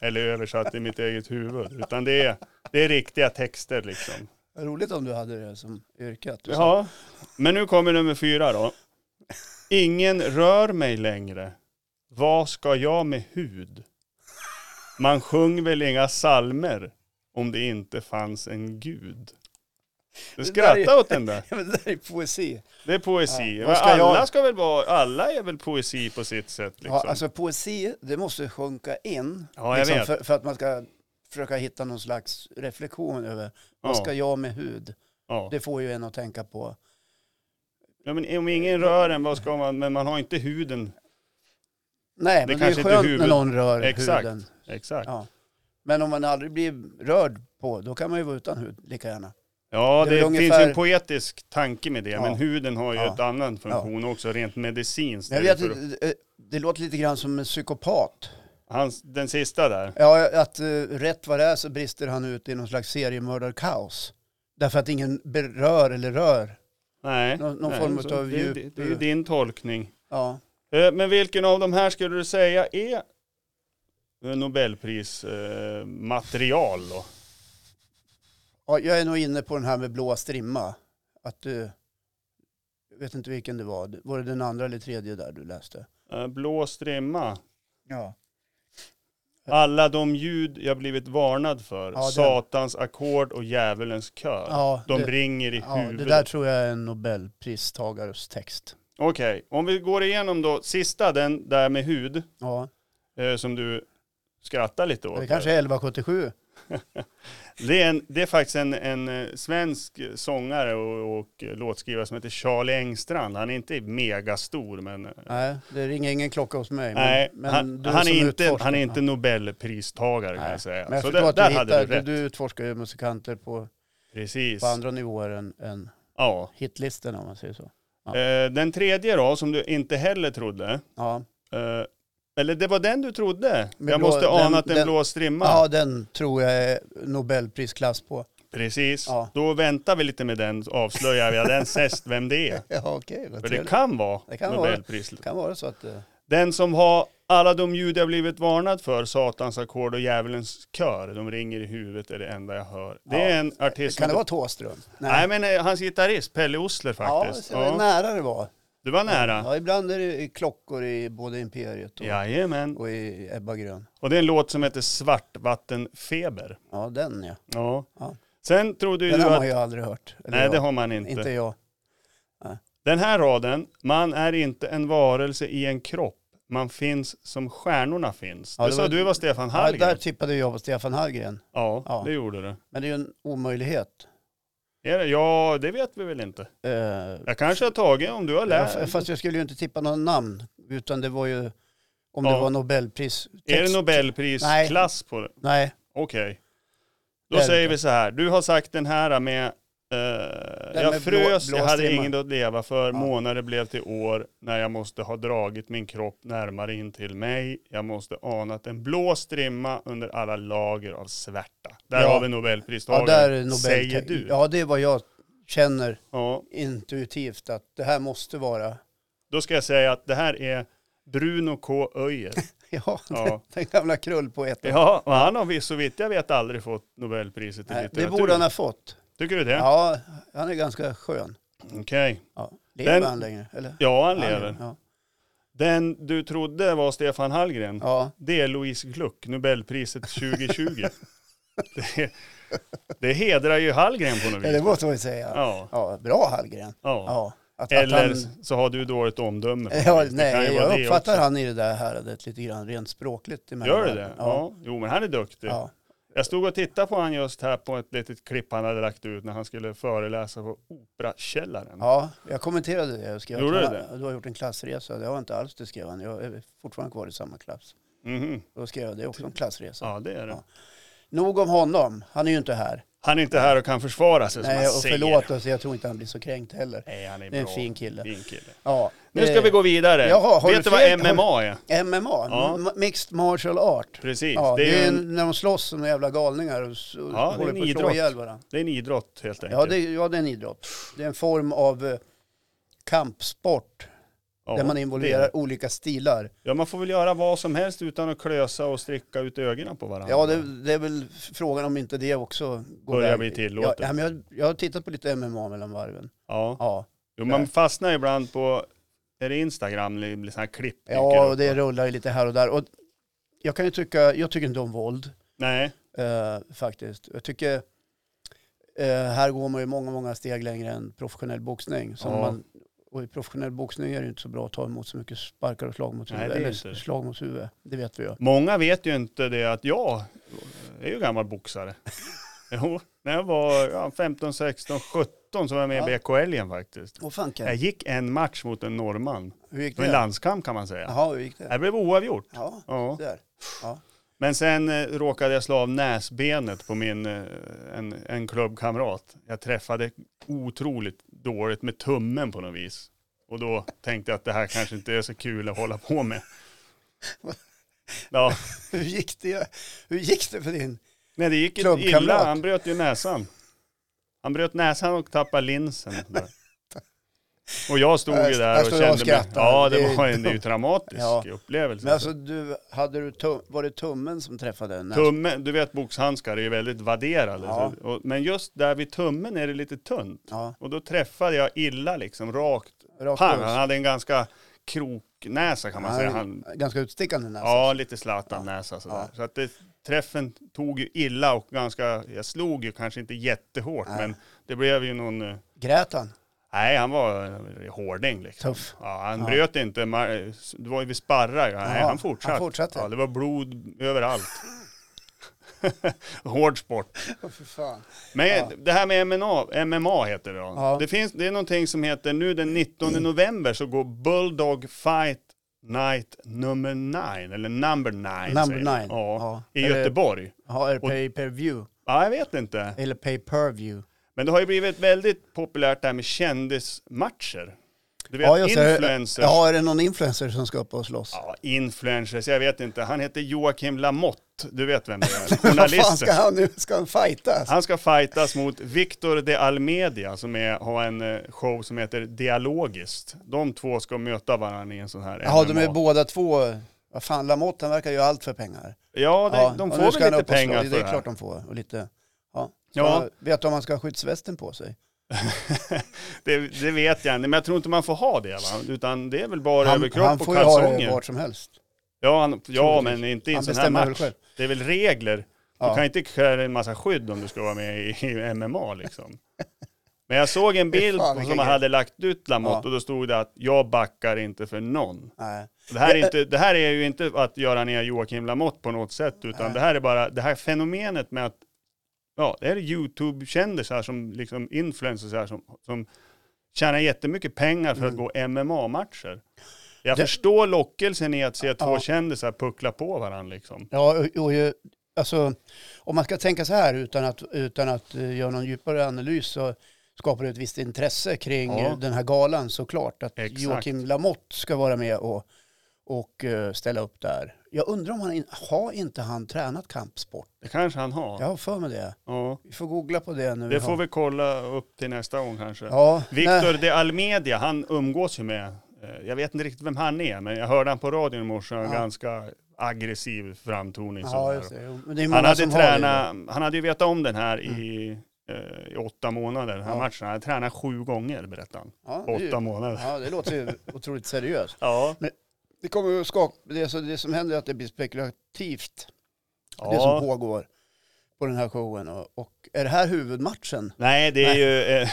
Eller översatt i mitt eget huvud. Utan det är, det är riktiga texter liksom. Roligt om du hade det som yrke. Att du sa- Ja. Men nu kommer nummer fyra då. Ingen rör mig längre. Vad ska jag med hud? Man sjöng väl inga salmer om det inte fanns en gud. Du Det där är- skrattar åt den där. Ja, men det där är poesi. Det är poesi. Ja, vad ska alla, jag- ska väl vara, alla är väl poesi på sitt sätt. Liksom. Ja, alltså poesi, det måste sjunka in. liksom, Ja, jag vet. För, för att man ska försöka hitta någon slags reflektion över vad Ja. ska jag med hud? ja. Det får ju en att tänka på Ja, men om ingen rör en, vad ska man, men man har inte huden. Nej, Det men det är kanske inte skönt när huvud- någon rör Exakt. huden. Exakt. Ja. Men om man aldrig blir rörd på, då kan man ju vara utan hud lika gärna. Ja, Det är det, väl finns ju ungefär- en poetisk tanke med det, Ja. men huden har ju Ja. ett annan funktion också, rent medicinskt. Jag Det är vet, för- inte, det, det låter lite grann som en psykopat. Hans, den sista där. Ja, att eh, rätt vad det är så brister han ut i någon slags seriemördarkaos. Därför att ingen berör eller rör. Nej. Nå- någon nej, form så av det, djup- eh, Det, det är ju din tolkning. Ja. Eh, Men vilken av de här skulle du säga är Nobelprismaterial då? ja, jag är nog inne på den här med blåa strimma. Att du, jag vet inte vilken det var. Var det den andra eller tredje där du läste? Eh, Blå strimma. Ja. Alla de ljud jag blivit varnad för. Ja, den. Satans ackord och djävulens kör. Ja, de det- ringer i ja, det huvudet. där tror jag är en Nobelpristagares text. Okej, om vi går igenom då sista, den där med hud, Ja, eh, som du skrattar lite åt. det kanske är 1177. Det är, en, det är faktiskt en, en eh, svensk sångare och, och låtskrivare som heter Charlie Engstrand. Han är inte megastor, men... eh, Nej, det ringer ingen klocka hos mig. men- nej, men han, du han, som är inte, utforskare- han är inte Nobelpristagare kan Nej, jag säga. Men jag Så förstår där, att du där hade hittar, du rätt. du utforskar ju musikanter på, Precis. på andra nivåer än, än Ja. hitlistorna om man säger så. Ja. Eh, Den tredje då, som du inte heller trodde. Ja, eh, Eller det var den du trodde. Men jag blå- måste den- ana att den, den- blå strimma. ja den tror jag är Nobelprisklass på. Precis. Ja. Då väntar vi lite med den, så avslöjar vi den sist vem det är. Ja, okej. vad För det trevligt. kan vara Det kan vara. Nobelpris. det kan vara så att... eh, Den som har alla de ljud jag blivit varnad för, Satans ackord och djävulens kör, de ringer i huvudet är det enda jag hör. Det är Ja. en artist Kan det som... vara Thåström? Nej men eh, hans gitarrist, Pelle Osler Ja, det faktiskt. ser väl nära det var. Du var nära. Ja, ibland är det klockor i både Imperiet och, Jajamän. och i Ebba Grön. Och det är en låt som heter Svartvattenfeber. Ja, den ja. Ja. Ja. Sen trodde ju Den du har man att... ju aldrig hört. Eller Nej jag. det har man inte. Inte jag. Den här raden, man är inte en varelse i en kropp, man finns som stjärnorna finns. Ja, det, det sa var- du var Stefan Ja, Hallgren. där tippade jag på Stefan Hallgren. ja, Ja. det gjorde du. Men det är ju en omöjlighet. Är det? Ja, det vet vi väl inte. Eh, Jag kanske har tagit om du har lärt. Ja, Fast jag skulle ju inte tippa några namn, utan det var ju om Ja. det var Nobelpris. är det text- Nobelprisklass på det? Nej, Okej. Då Det är det säger inte. vi så här. Du har sagt den här med... eh, jag med blå- frös, blå jag hade strimma. inget att leva för. Ja. Månader blev till år när jag måste ha dragit min kropp närmare in till mig. Jag måste anat en blå strimma under alla lager av svärta. Där Ja. har vi ja, Nobelpristagaren. där är Nobel säger du. Ja. Ja, det är vad jag känner intuitivt att det här måste vara. Då ska jag säga att det här är Bruno K. Öijer. Ja, Ja. den gamla krullpoeten. Ja, och han har vi- så vitt jag vet aldrig fått Nobelpriset i Nej, litteratur. det borde han ha fått. Tycker du det? Ja, han är ganska skön. Okej. Ja. Lever Den- han längre? Eller? Ja, han lever. Ja. Den du trodde var Stefan Hallgren, ja, det är Louise Gluck, Nobelpriset 2020. det, det hedrar ju Hallgren på något Ja, vis. det måste man ju säga. Ja, Ja, bra Hallgren. ja. Ja. Att, Eller att han, så har du dåligt omdöme. på något Ja, vis. Det kan ju nej, vara jag det uppfattar också. han i det där häradet lite grann rent språkligt. emellan. Gör du det? Ja. Ja. Jo, men han är duktig. ja. Jag stod och tittade på han just här på ett litet klipp han hade lagt ut när han skulle föreläsa på Operakällaren. ja, jag kommenterade det. Jag skrev Gjorde att du han- Du har gjort en klassresa. Det har jag inte alls, det skrev han. Jag är fortfarande kvar i samma klass. Mhm. Då skrev jag det är också, en klassresa. Alltså. Ja, det är det. Ja. Nog om honom. Han är ju inte här. Han är inte här och kan försvara sig som Nej, han och säger. förlåt oss, jag tror inte han blir så kränkt heller. Nej, han är Det är en bra. fin kille. Fin kille. Ja. Nu ska vi gå vidare. Jaha, har Vet du du vad fel? Har- MMA är? MMA, Ja. m- Mixed Martial Art. Precis. Ja, det, är ju en, en, när de slåss som jävla galningar och s- och det är håller en på att slå idrott. ihjäl varandra. det är en idrott helt enkelt. Ja det, ja, det är en idrott. Det är en form av eh, kampsport Ja, där man involverar det. olika stilar. Ja, man får väl göra vad som helst utan att klösa och stricka ut ögonen på varandra. Ja, det, det är väl frågan om inte det också går Börjar väg. bli tillåtet. Ja, nej, men jag, jag har tittat på lite MMA mellan varven. Ja. Ja, Jo, man fastnar ju ibland på, är det Instagram, det blir såna här klipp. dyker ja och upp. det rullar ju lite här och där. Och jag kan ju tycka, jag tycker inte om våld Nej, eh, faktiskt. Jag tycker, eh, här går man ju många, många steg längre än professionell boxning. Som Ja. man, och i professionell boxning är det ju inte så bra att ta emot så mycket sparkar och slag mot Nej, huvudet. det är inte Eller det. slag mot huvudet, det vet vi ju. många vet ju inte det att jag är ju gammal boxare. Jo, när jag var ja, 15, 16, 17 så var jag med i Ja. BKL igen faktiskt. Åh fanken, Jag gick en match mot en norrman. hur gick Det var en det? landskamp kan man säga. Jaha, hur gick det? Det blev oavgjort. Ja, Ja. där. Men sen eh, råkade jag slå av näsbenet på min, eh, en, en klubbkamrat. Jag träffade otroligt dåligt med tummen på något vis. Och då tänkte jag att det här kanske inte är så kul att hålla på med. Ja, Hur gick det, hur gick det för din... nej det gick ju Klubbkamrat. illa. Han bröt ju näsan. Han bröt näsan och tappade linsen. Där. Och jag stod Jag ju st- där jag och stod och kände mig... skrattade. Ja, det Det är var ju en, det är ju traumatisk Ja. upplevelse. Men alltså, du, hade du tum, var det tummen som träffade den? Tummen, du vet boxhandskar är ju väldigt vadderade. Ja. Så- och- Men just där vid tummen är det lite tunt. Ja, Och då träffade jag illa liksom rakt. rakt Han, över. han hade en ganska kroknäsa kan man Ja, säga. det- Han, Ganska utstickande näsa. ja, lite Zlatan-näsa sådär. Alltså. Ja. Så att det, träffen tog ju illa och ganska, jag slog ju kanske inte jättehårt Nej. men det blev ju någon, eh, Grät han? nej han var eh, hårding liksom. Tuff. Ja, han Ja. bröt inte, mar- det var ju vi sparrar, ja, nej, Ja, han fortsatte. han fortsatte. Ja, det var blod överallt. Hård sport. Åh, för fan. Men Ja. det här med MMA, MMA heter det då. Ja. Det, finns, det är någonting som heter nu den 19 november så går Bulldog Fight Night number 9, eller number 9 Number nine. Ja, i Eller- Göteborg. Ja, eller Och- pay per view. Ja, jag vet inte. Eller pay per view. Men det har ju blivit väldigt populärt det här med kändismatcher. Du vet, Ja, jag ser- influencers. Ja. Ja, är det någon influencer som ska upp och slåss? influencers, jag vet inte. Han heter Joakim Lamotte, du vet vem det är, Vad fan ska journalisten. han nu? Ska han fightas? Han ska fightas mot Victor de Almedia som är, har en eh, show som heter Dialogiskt. De två ska möta varandra i en sån här Ja, de MMA. är båda två... Vad fan, Lamotte han verkar ju allt för pengar. Ja, det, Ja, de och får nu ska väl han upp lite och slå. pengar för Det det är klart här. de får. Och lite, ja. Ja. Ja. Vet du om han ska ha skyddsvästen på sig? det, det vet jag inte, men jag tror inte man får ha det va? Utan det är väl bara Han, överkropp han och får ju ha det kalsonger. vart som helst. ja, han, ja, Troligtvis. men inte i en Han sån här bestämmer väl match. själv. Det är väl regler. Du Ja. kan inte kräva en massa skydd om du ska vara med i, i MMA liksom. Men jag såg en Fy bild fan, som vilken man grej. hade lagt ut Lamotte Ja. och då stod det att jag backar inte för någon. Nej. Det här, är inte, det här är ju inte att göra ner Joakim Lamotte på något sätt, utan det här är bara det här fenomenet med att ja, det här är YouTube-kändisar som liksom influencers här som, som tjänar jättemycket pengar för att gå MMA-matcher. Jag Mm. Det- förstår lockelsen i att se två Ja. kändisar puckla på varandra liksom. Ja, och, och ju, alltså, om man ska tänka så här utan att, utan att eh, göra någon djupare analys så skapar det ett visst intresse kring Ja. eh, den här galan såklart. Att Exakt. Joakim Lamotte ska vara med och, och eh, ställa upp där. Jag undrar om han in, har inte han tränat kampsport? Det kanske han har. Jag Ja. har för mig det. Vi får googla på det nu. Det får vi kolla upp till nästa gång kanske. Ja, nej. Victor de Almedia, han umgås ju med, eh, jag vet inte riktigt vem han är, men jag hörde han på radion i morse, en Ja. ganska aggressiv framtoning. Ja, sådär. just det. Jo, Men det är många han, hade som har det. Mm. tränat, han hade ju vetat om den här i, eh, i åtta månader, den här Ja. matchen. Han hade tränat sju gånger, berättade han. Ja, det är ju- Åtta månader. Ja, det låter ju otroligt seriöst. Ja, Det, kommer att skaka, det, så det som händer är att det blir spekulativt. det som ja. pågår på den här showen. Och, och är det här huvudmatchen? Nej, det är, ju, eh,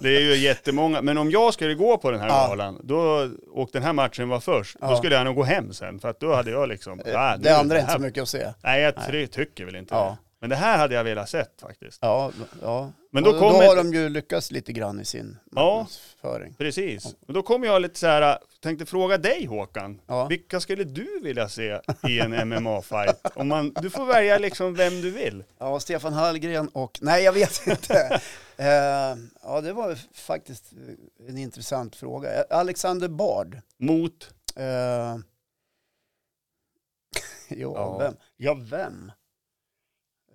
det är ju jättemånga. Men om jag skulle gå på den här Ja. galan, då, och den här matchen var först, då Ja. Eh, skulle jag nog gå hem sen. För att då hade jag liksom... ah, nu, det andra är inte här- så mycket att se. Nej, jag ty- tycker väl inte Ja. det. Men det här hade jag velat sett faktiskt. Ja, ja. Men då Och kommer- då har de ju lyckats lite grann i sin marknadsföring. Precis. Och då kommer jag lite så här, tänkte fråga dig Håkan, Ja. vilka skulle du vilja se i en MMA-fight? Om man, du får välja liksom vem du vill. Ja, Stefan Hallgren och... Nej, jag vet inte. Eh, ja, det var faktiskt en intressant fråga. Eh, Alexander Bard. Mot? Eh, jo, Ja. vem? Ja, vem?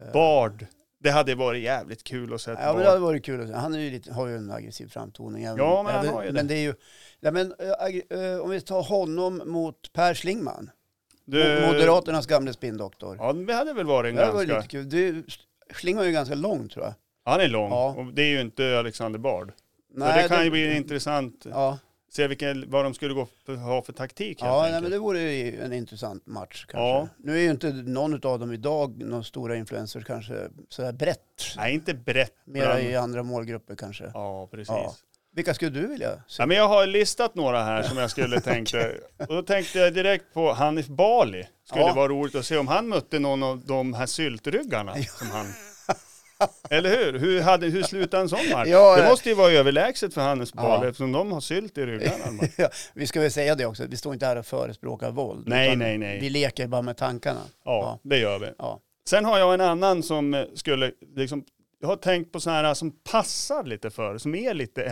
Eh, Bard. Det hade varit jävligt kul att se ett Ja, men Bard. det hade varit kul. att se. Han är ju lite, har ju en aggressiv framtoning. även- Ja, men han även- har ju det. Men det är ju... Ja, men, eh, aggr- eh, om vi tar honom mot Per Schlingman, Du- Mo- Moderaternas gamle spinndoktor. Ja, det hade väl varit en det hade varit ganska... lite kul. Du, Schlingman är ju ganska lång tror jag. Han är lång Ja. och det är ju inte Alexander Bard. så Nej, det kan ju bli intressant. Ja, Se vilken, vad de skulle gå för, ha för taktik helt ja nej, enkelt. men det vore ju en intressant match kanske. Ja. Nu är ju inte någon av dem idag, några stora influencers kanske, sådär brett. Nej, inte brett. Mera bland- i andra målgrupper kanske. Ja, precis. Ja. Vilka skulle du vilja se? Ja, men jag har listat några här som jag skulle tänkte. Och då tänkte jag direkt på Hanif Bali. Skulle Ja. vara roligt att se om han mötte någon av de här syltryggarna som han Eller hur? Hur, hade, hur slutade en sån match? Ja, det eh. måste ju vara överlägset för Hannes Pahl Ja. eftersom de har sylt i ryggarna. Ja, vi ska väl säga det också, vi står inte här och förespråkar våld. Nej, utan nej, nej. Vi leker ju bara med tankarna. Ja, det gör vi. Ja. Sen har jag en annan som eh, skulle, liksom, jag har tänkt på sådana här som passar lite för, som är lite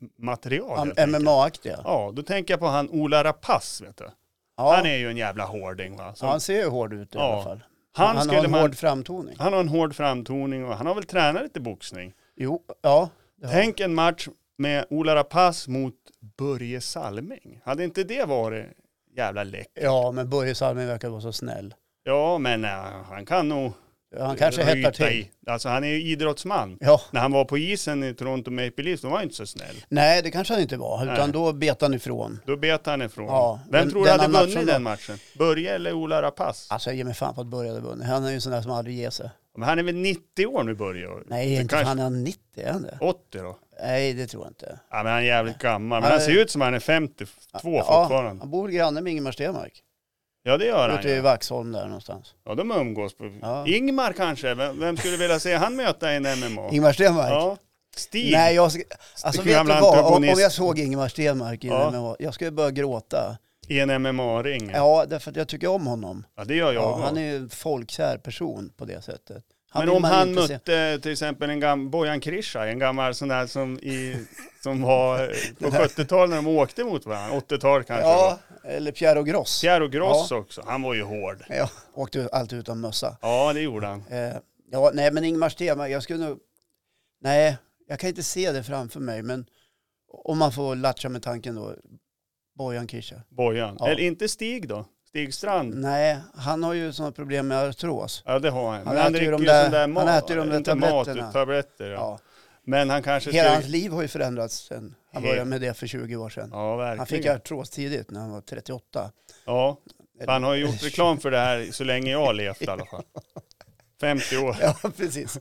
MMA-material. helt Am- enkelt. MMA-aktiga. Ja, då tänker jag på han Ola Rapace, vet du. Ja, Han är ju en jävla hårding va. Så ja, han ser ju hård ut i Ja. alla fall. han, han har skulle en man, hård framtoning. han har en hård framtoning och han har väl tränat lite boxning. Jo, ja. det har- Tänk en match med Ola Rapace mot Börje Salming. Hade inte det varit jävla läck? Ja, men Börje Salming verkar vara så snäll. Ja, men eh, han kan nog Han kanske ryta hettar till. I. Alltså han är ju idrottsman. Ja, När han var på isen i Toronto Maple Leafs, då var han inte så snäll. nej det kanske han inte var, utan Nej. då bet han ifrån. Då bet han ifrån. Ja, Vem den- tror du den hade andra vunnit matchen den matchen? Börje eller Ola Rapace? Alltså jag ger mig fan på att Börje hade vunnit. Han är ju en sån där som aldrig ger sig. Men han är väl 90 år nu Börje? Nej, Det inte kanske- fan är han 90, är han det? 80 då? Nej, det tror jag inte. Ja, men han är jävligt gammal. Men Ja, han det- ser ut som han är 52 Ja, fortfarande. han bor granne med Ingemar Stenmark. Ja, det gör han. Ute i Ja, Vaxholm där någonstans. ja de umgås. På... Ja. Ingmar kanske? Vem, vem skulle vilja se han möta i en MMA? Ingemar Stenmark? Ja. Stig? Nej, jag... sk- Alltså vet du Gamla vad? Om- Om antagonist. jag såg Ingemar Stenmark, Ja. ja. jag skulle börja gråta. I en MMA-ring? Ja. Ja, därför att jag tycker om honom. det gör jag Ja, också. han är ju en folkkär person på det sättet. Men vill om man han inte se- mötte till exempel en gammal Bojan Krisha, en gammal sån där som, i, som var eh, på 70-talet när de åkte mot varandra, 80-tal kanske. Ja. Ja, eller Piero Gross. Piero Gross också, han var ju hård. Ja, åkte ju alltid utan mössa. Ja, det gjorde han. Eh, ja, nej, men Ingmar Stenmark, jag skulle nog... Nej, jag kan inte se det framför mig, men om man får latcha med tanken då, Bojan Krisha. Bojan. Ja. Eller inte Stig då? Stig Strand? Nej, han har ju sådana problem med artros. Ja, det har han. Men äter ju de där- han äter ju de där inte mat, tabletterna. tabletter. Ja. Ja. Men han kanske... Hela skulle- hans liv har ju förändrats sen han Helt. började med det för 20 år sedan. Ja, verkligen. Han fick artros tidigt när han var 38. Ja, för han har ju gjort Eller- reklam för det här så länge jag har levt i alla fall. 50 år. Ja, precis.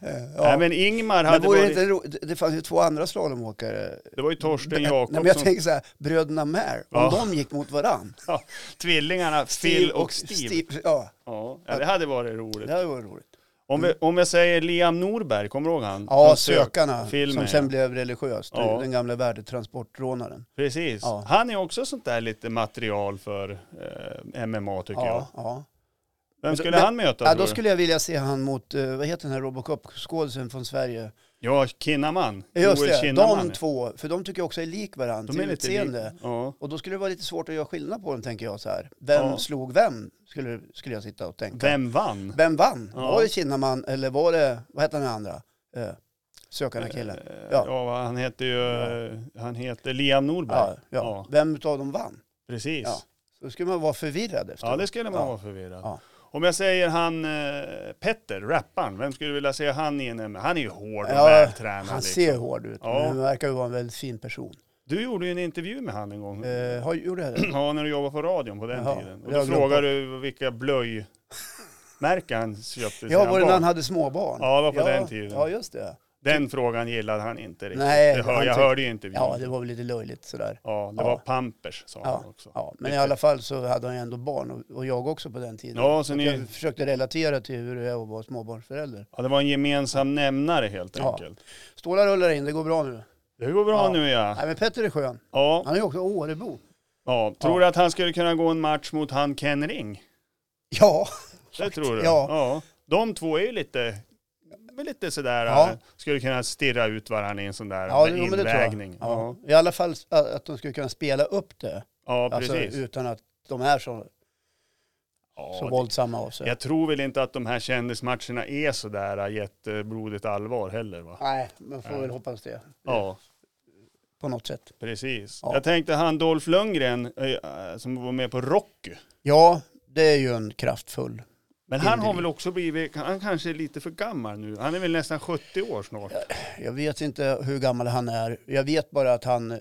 Eh, Ja. Nej, men men Ingmar hade men vore det, varit... inte ro... det- det fanns ju två andra slalomåkare. Det var ju Torsten Nej, Jakobsson. men jag tänker så här, bröderna Mär, om Ja. de gick mot varann. Ja, tvillingarna Phil och Steve. Ja, Ja, ja, det hade varit roligt. det hade varit roligt. Om, vi, om jag säger Liam Norberg, kommer du ihåg han? Ja, Från Sökarna, filmen, som ja. sen blev religiös. Ja. Den gamla värdetransportrånaren. Precis. Ja. Han är också sånt där lite material för eh, MMA tycker jag. Ja, ja. Vem Men- skulle men- han möta ja, tror då du? skulle jag vilja se han mot, eh, vad heter den här Robocop-skådisen från Sverige? Eh, Ja, Kinnaman. Just Joel det, Kinnaman, de ja. två, för de tycker jag också är lik varandra till utseende. lika. Ja. Och då skulle det vara lite svårt att göra skillnad på dem, tänker jag så här. Vem Ja. slog vem, skulle, skulle jag sitta och tänka. Vem vann? Vem vann? Ja. Var det Kinnaman eller var det, vad heter den andra? Eh, sökande killen. Eh, Ja. Ja. vad han heter ju eh, han heter Liam Norberg. Ja, ja. Ja. Vem utav dem vann? Precis. Ja. Ja. Då skulle man vara förvirrad efter. det skulle man Ja. vara förvirrad. Ja. Om jag säger han eh, Petter, rapparen, vem skulle du vilja se han i en MMA? Han är ju hård och Ja, vältränad. Han liksom. ser hård ut, Ja. men han verkar ju vara en väldigt fin person. Du gjorde ju en intervju med han en gång. Eh, har, gjorde jag det? Ja, när du jobbade på radion på den Jaha, tiden. Och det har jag då glömt frågade du vilka blöjmärken han köpte Ja, sina var det när barn. han hade småbarn? Ja, det var på den tiden. Ja, just det. Den frågan gillade han inte riktigt. Nej, det hör, han jag tyck- hörde ju intervjun. Ja, det var väl lite löjligt sådär. Ja, det Ja. var Pampers sa Ja, han också. ja, men i alla fall så hade han ju ändå barn och, och jag också på den tiden. Ja, så ni, Jag försökte relatera till hur det är att vara småbarnsförälder. ja, det var en gemensam nämnare helt Ja. enkelt. Stålar rullar in, det går bra nu. Det går bra Ja. nu ja. Nej men Petter är skön. Ja, Han är ju också Årebo. ja. Tror du att han skulle kunna gå en match mot han Ken Ring? Ja, Det tror du? Ja. De två är ju lite, väl lite sådär, Ja. eh, skulle kunna stirra ut varandra i en sån där ja med det, jo, men det tror jag. invägning. Ja. I alla fall s- att att de skulle kunna spela upp det. Ja, Alltså, precis. utan att de är så, ja, så det- våldsamma av sig. jag tror väl inte att de här kändismatcherna är sådär äh, jätteblodigt allvar heller va? Nej, man får Nej. väl hoppas det. Ja, På något sätt. precis. Ja. Jag tänkte han Dolph Lundgren äh, som var med på Rocky. Ja, det är ju en kraftfull. Men han Indie. har väl också blivit, han kanske är lite för gammal nu. Han är väl nästan 70 år snart. Jag vet inte hur gammal han är. Jag vet bara att han eh,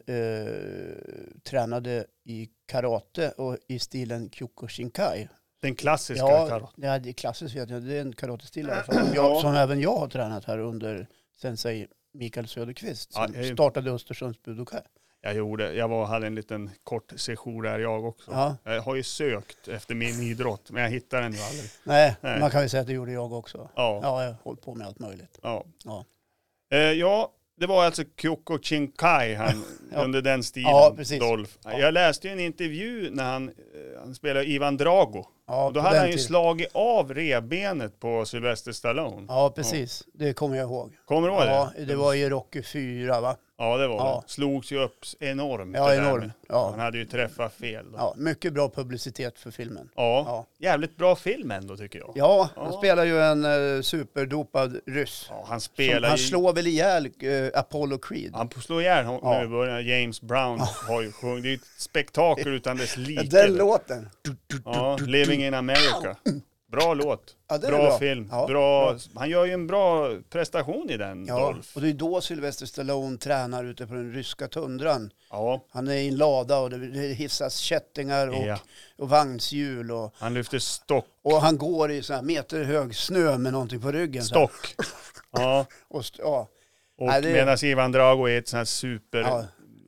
tränade i karate och i stilen Kyokushinkai. Den klassiska karate. det är klassiskt vet jag. Det är en karatestil i alla fall. Som, Ja. jag, som även jag har tränat här under sensei Mikael Söderqvist som Ja, jag är- startade Östersunds Budokai. Jag, gjorde, jag var, hade en liten kort session där jag också. Ja, Jag har ju sökt efter min idrott, men jag hittar den ju aldrig. nej, Nej. man kan ju säga att det gjorde jag också. Ja, ja. Ja, jag har hållit på med allt möjligt. Ja. Ja. Eh, ja det var alltså Kyoko Chinkai han, Ja. under den stilen, Ja, precis. Dolph. Ja. Jag läste ju en intervju när han, eh, han spelade Ivan Drago. Ja, Och då på hade den han ju tiden. slagit av revbenet på Sylvester Stallone. Ja, precis. Det kommer jag ihåg. Kommer du ihåg Ja, det? det var ju Rocky 4 va? Ja, det var Ja. det. Slogs ju upp enormt. Ja, det där med- enorm. Han Ja. hade ju träffat fel. Då. Ja. ja, mycket bra publicitet för filmen. Ja, jävligt bra film ändå tycker jag. ja han Ja. spelar ju en eh, superdopad ryss. Ja, han Som, spelar han ju... slår väl ihjäl eh, Apollo Creed? Han slår ihjäl hon- Ja. nu i början. James Brown har ju sjungit. Det är ju ett spektakel utan dess Ja, like. den låten. ja, Living in America. Bra låt. Ja, den är bra, bra. film. Ja, bra. Han gör ju en bra prestation i den, Ja, Dolph. och det är då Sylvester Stallone tränar ute på den ryska tundran. Ja, Han är i en lada och det det hissas kättingar och, ja. och vagnshjul. Och, Han lyfter stock. och han går i sån här meterhög snö med någonting på ryggen. så här. Stock. Ja, Och, st- ja, och Nej, det- medan Ivan Drago är ett sånt här super... ja,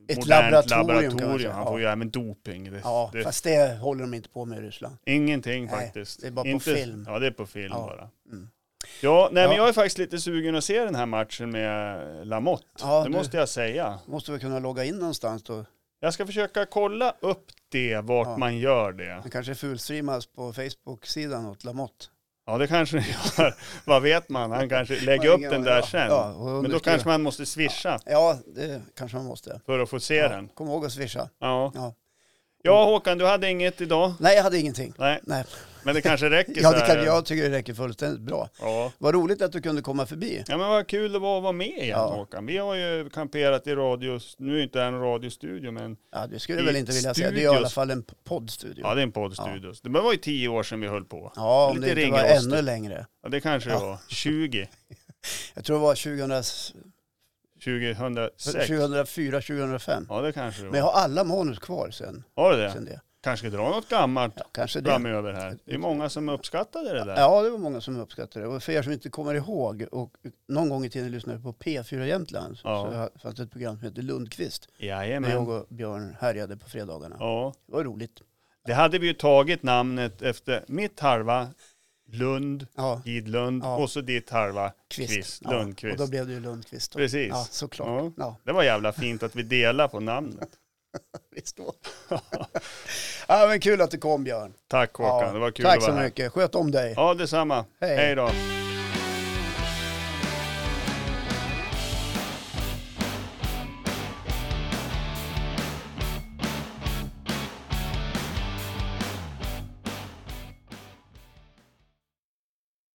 ett modernt laboratorium, kan man säga. laboratorium. Han får ju även doping. Det, ja, det, fast det håller de inte på med i Ryssland. ingenting Nej, faktiskt. det är bara på Inte, film. Ja, det är på film Ja. bara. Mm. Ja, nej, men Ja. jag är faktiskt lite sugen att se den här matchen med Lamotte. Ja, det du- måste jag säga. Måste vi kunna logga in någonstans då? Jag ska försöka kolla upp det, vart Ja. man gör det. Den kanske fulstreamas på Facebook-sidan åt Lamotte. Ja, det kanske det gör. Vad vet man? Han kanske lägger upp den där ja, sen. Ja, men då kanske man måste swisha Ja, det kanske man måste. för att få se Ja, den. kom ihåg att swisha. Ja. Ja. ja, Håkan, du hade inget idag. Nej, jag hade ingenting. Nej, Nej. men det kanske räcker Ja, så det här. eh, kan, jag tycker det räcker fullständigt bra. Ja. Vad roligt att du kunde komma förbi. Ja men vad kul det var att vara med igen Ja. Håkan. Vi har ju kamperat i radio, nu är det inte det här en radiostudio men Ja, det skulle I du väl inte vilja säga. Det är i alla studios. fall en poddstudio. ja det är en poddstudio. Det var ju tio år sedan vi höll på. Ja, om Lite det inte var ringrostigt. ännu längre. Ja, det kanske Ja. det var 20, Jag tror det var 2006. 2006. 2004, 2005. Ja det kanske det Men var. jag har alla manus kvar sen, Har du det? sen det. Kanske dra något gammalt Ja, kanske det. framöver här. Det är många som uppskattade det där. Ja, det var många som uppskattade det. Och för er som inte kommer ihåg, och någon gång i tiden lyssnade vi på P4 Jämtland, Ja. så fanns det ett program som hette Lundqvist, när jag Jajamän. och Björn härjade på fredagarna. Ja. Det var roligt. Det hade vi ju tagit namnet efter mitt halva Lund, Ja, Gidlund Ja. och så ditt halva Kvist. Kvist, Ja, Lundqvist. Och då blev det ju Lundqvist. Då. Precis. Ja, såklart. Ja. Ja. Det var jävla fint att vi delar på namnet. visst då. ja, men kul att du kom Björn. Tack Håkan, ja. det var kul Tack att vara så här. mycket. Sköt om dig. Ja, detsamma. Hej. Hej då.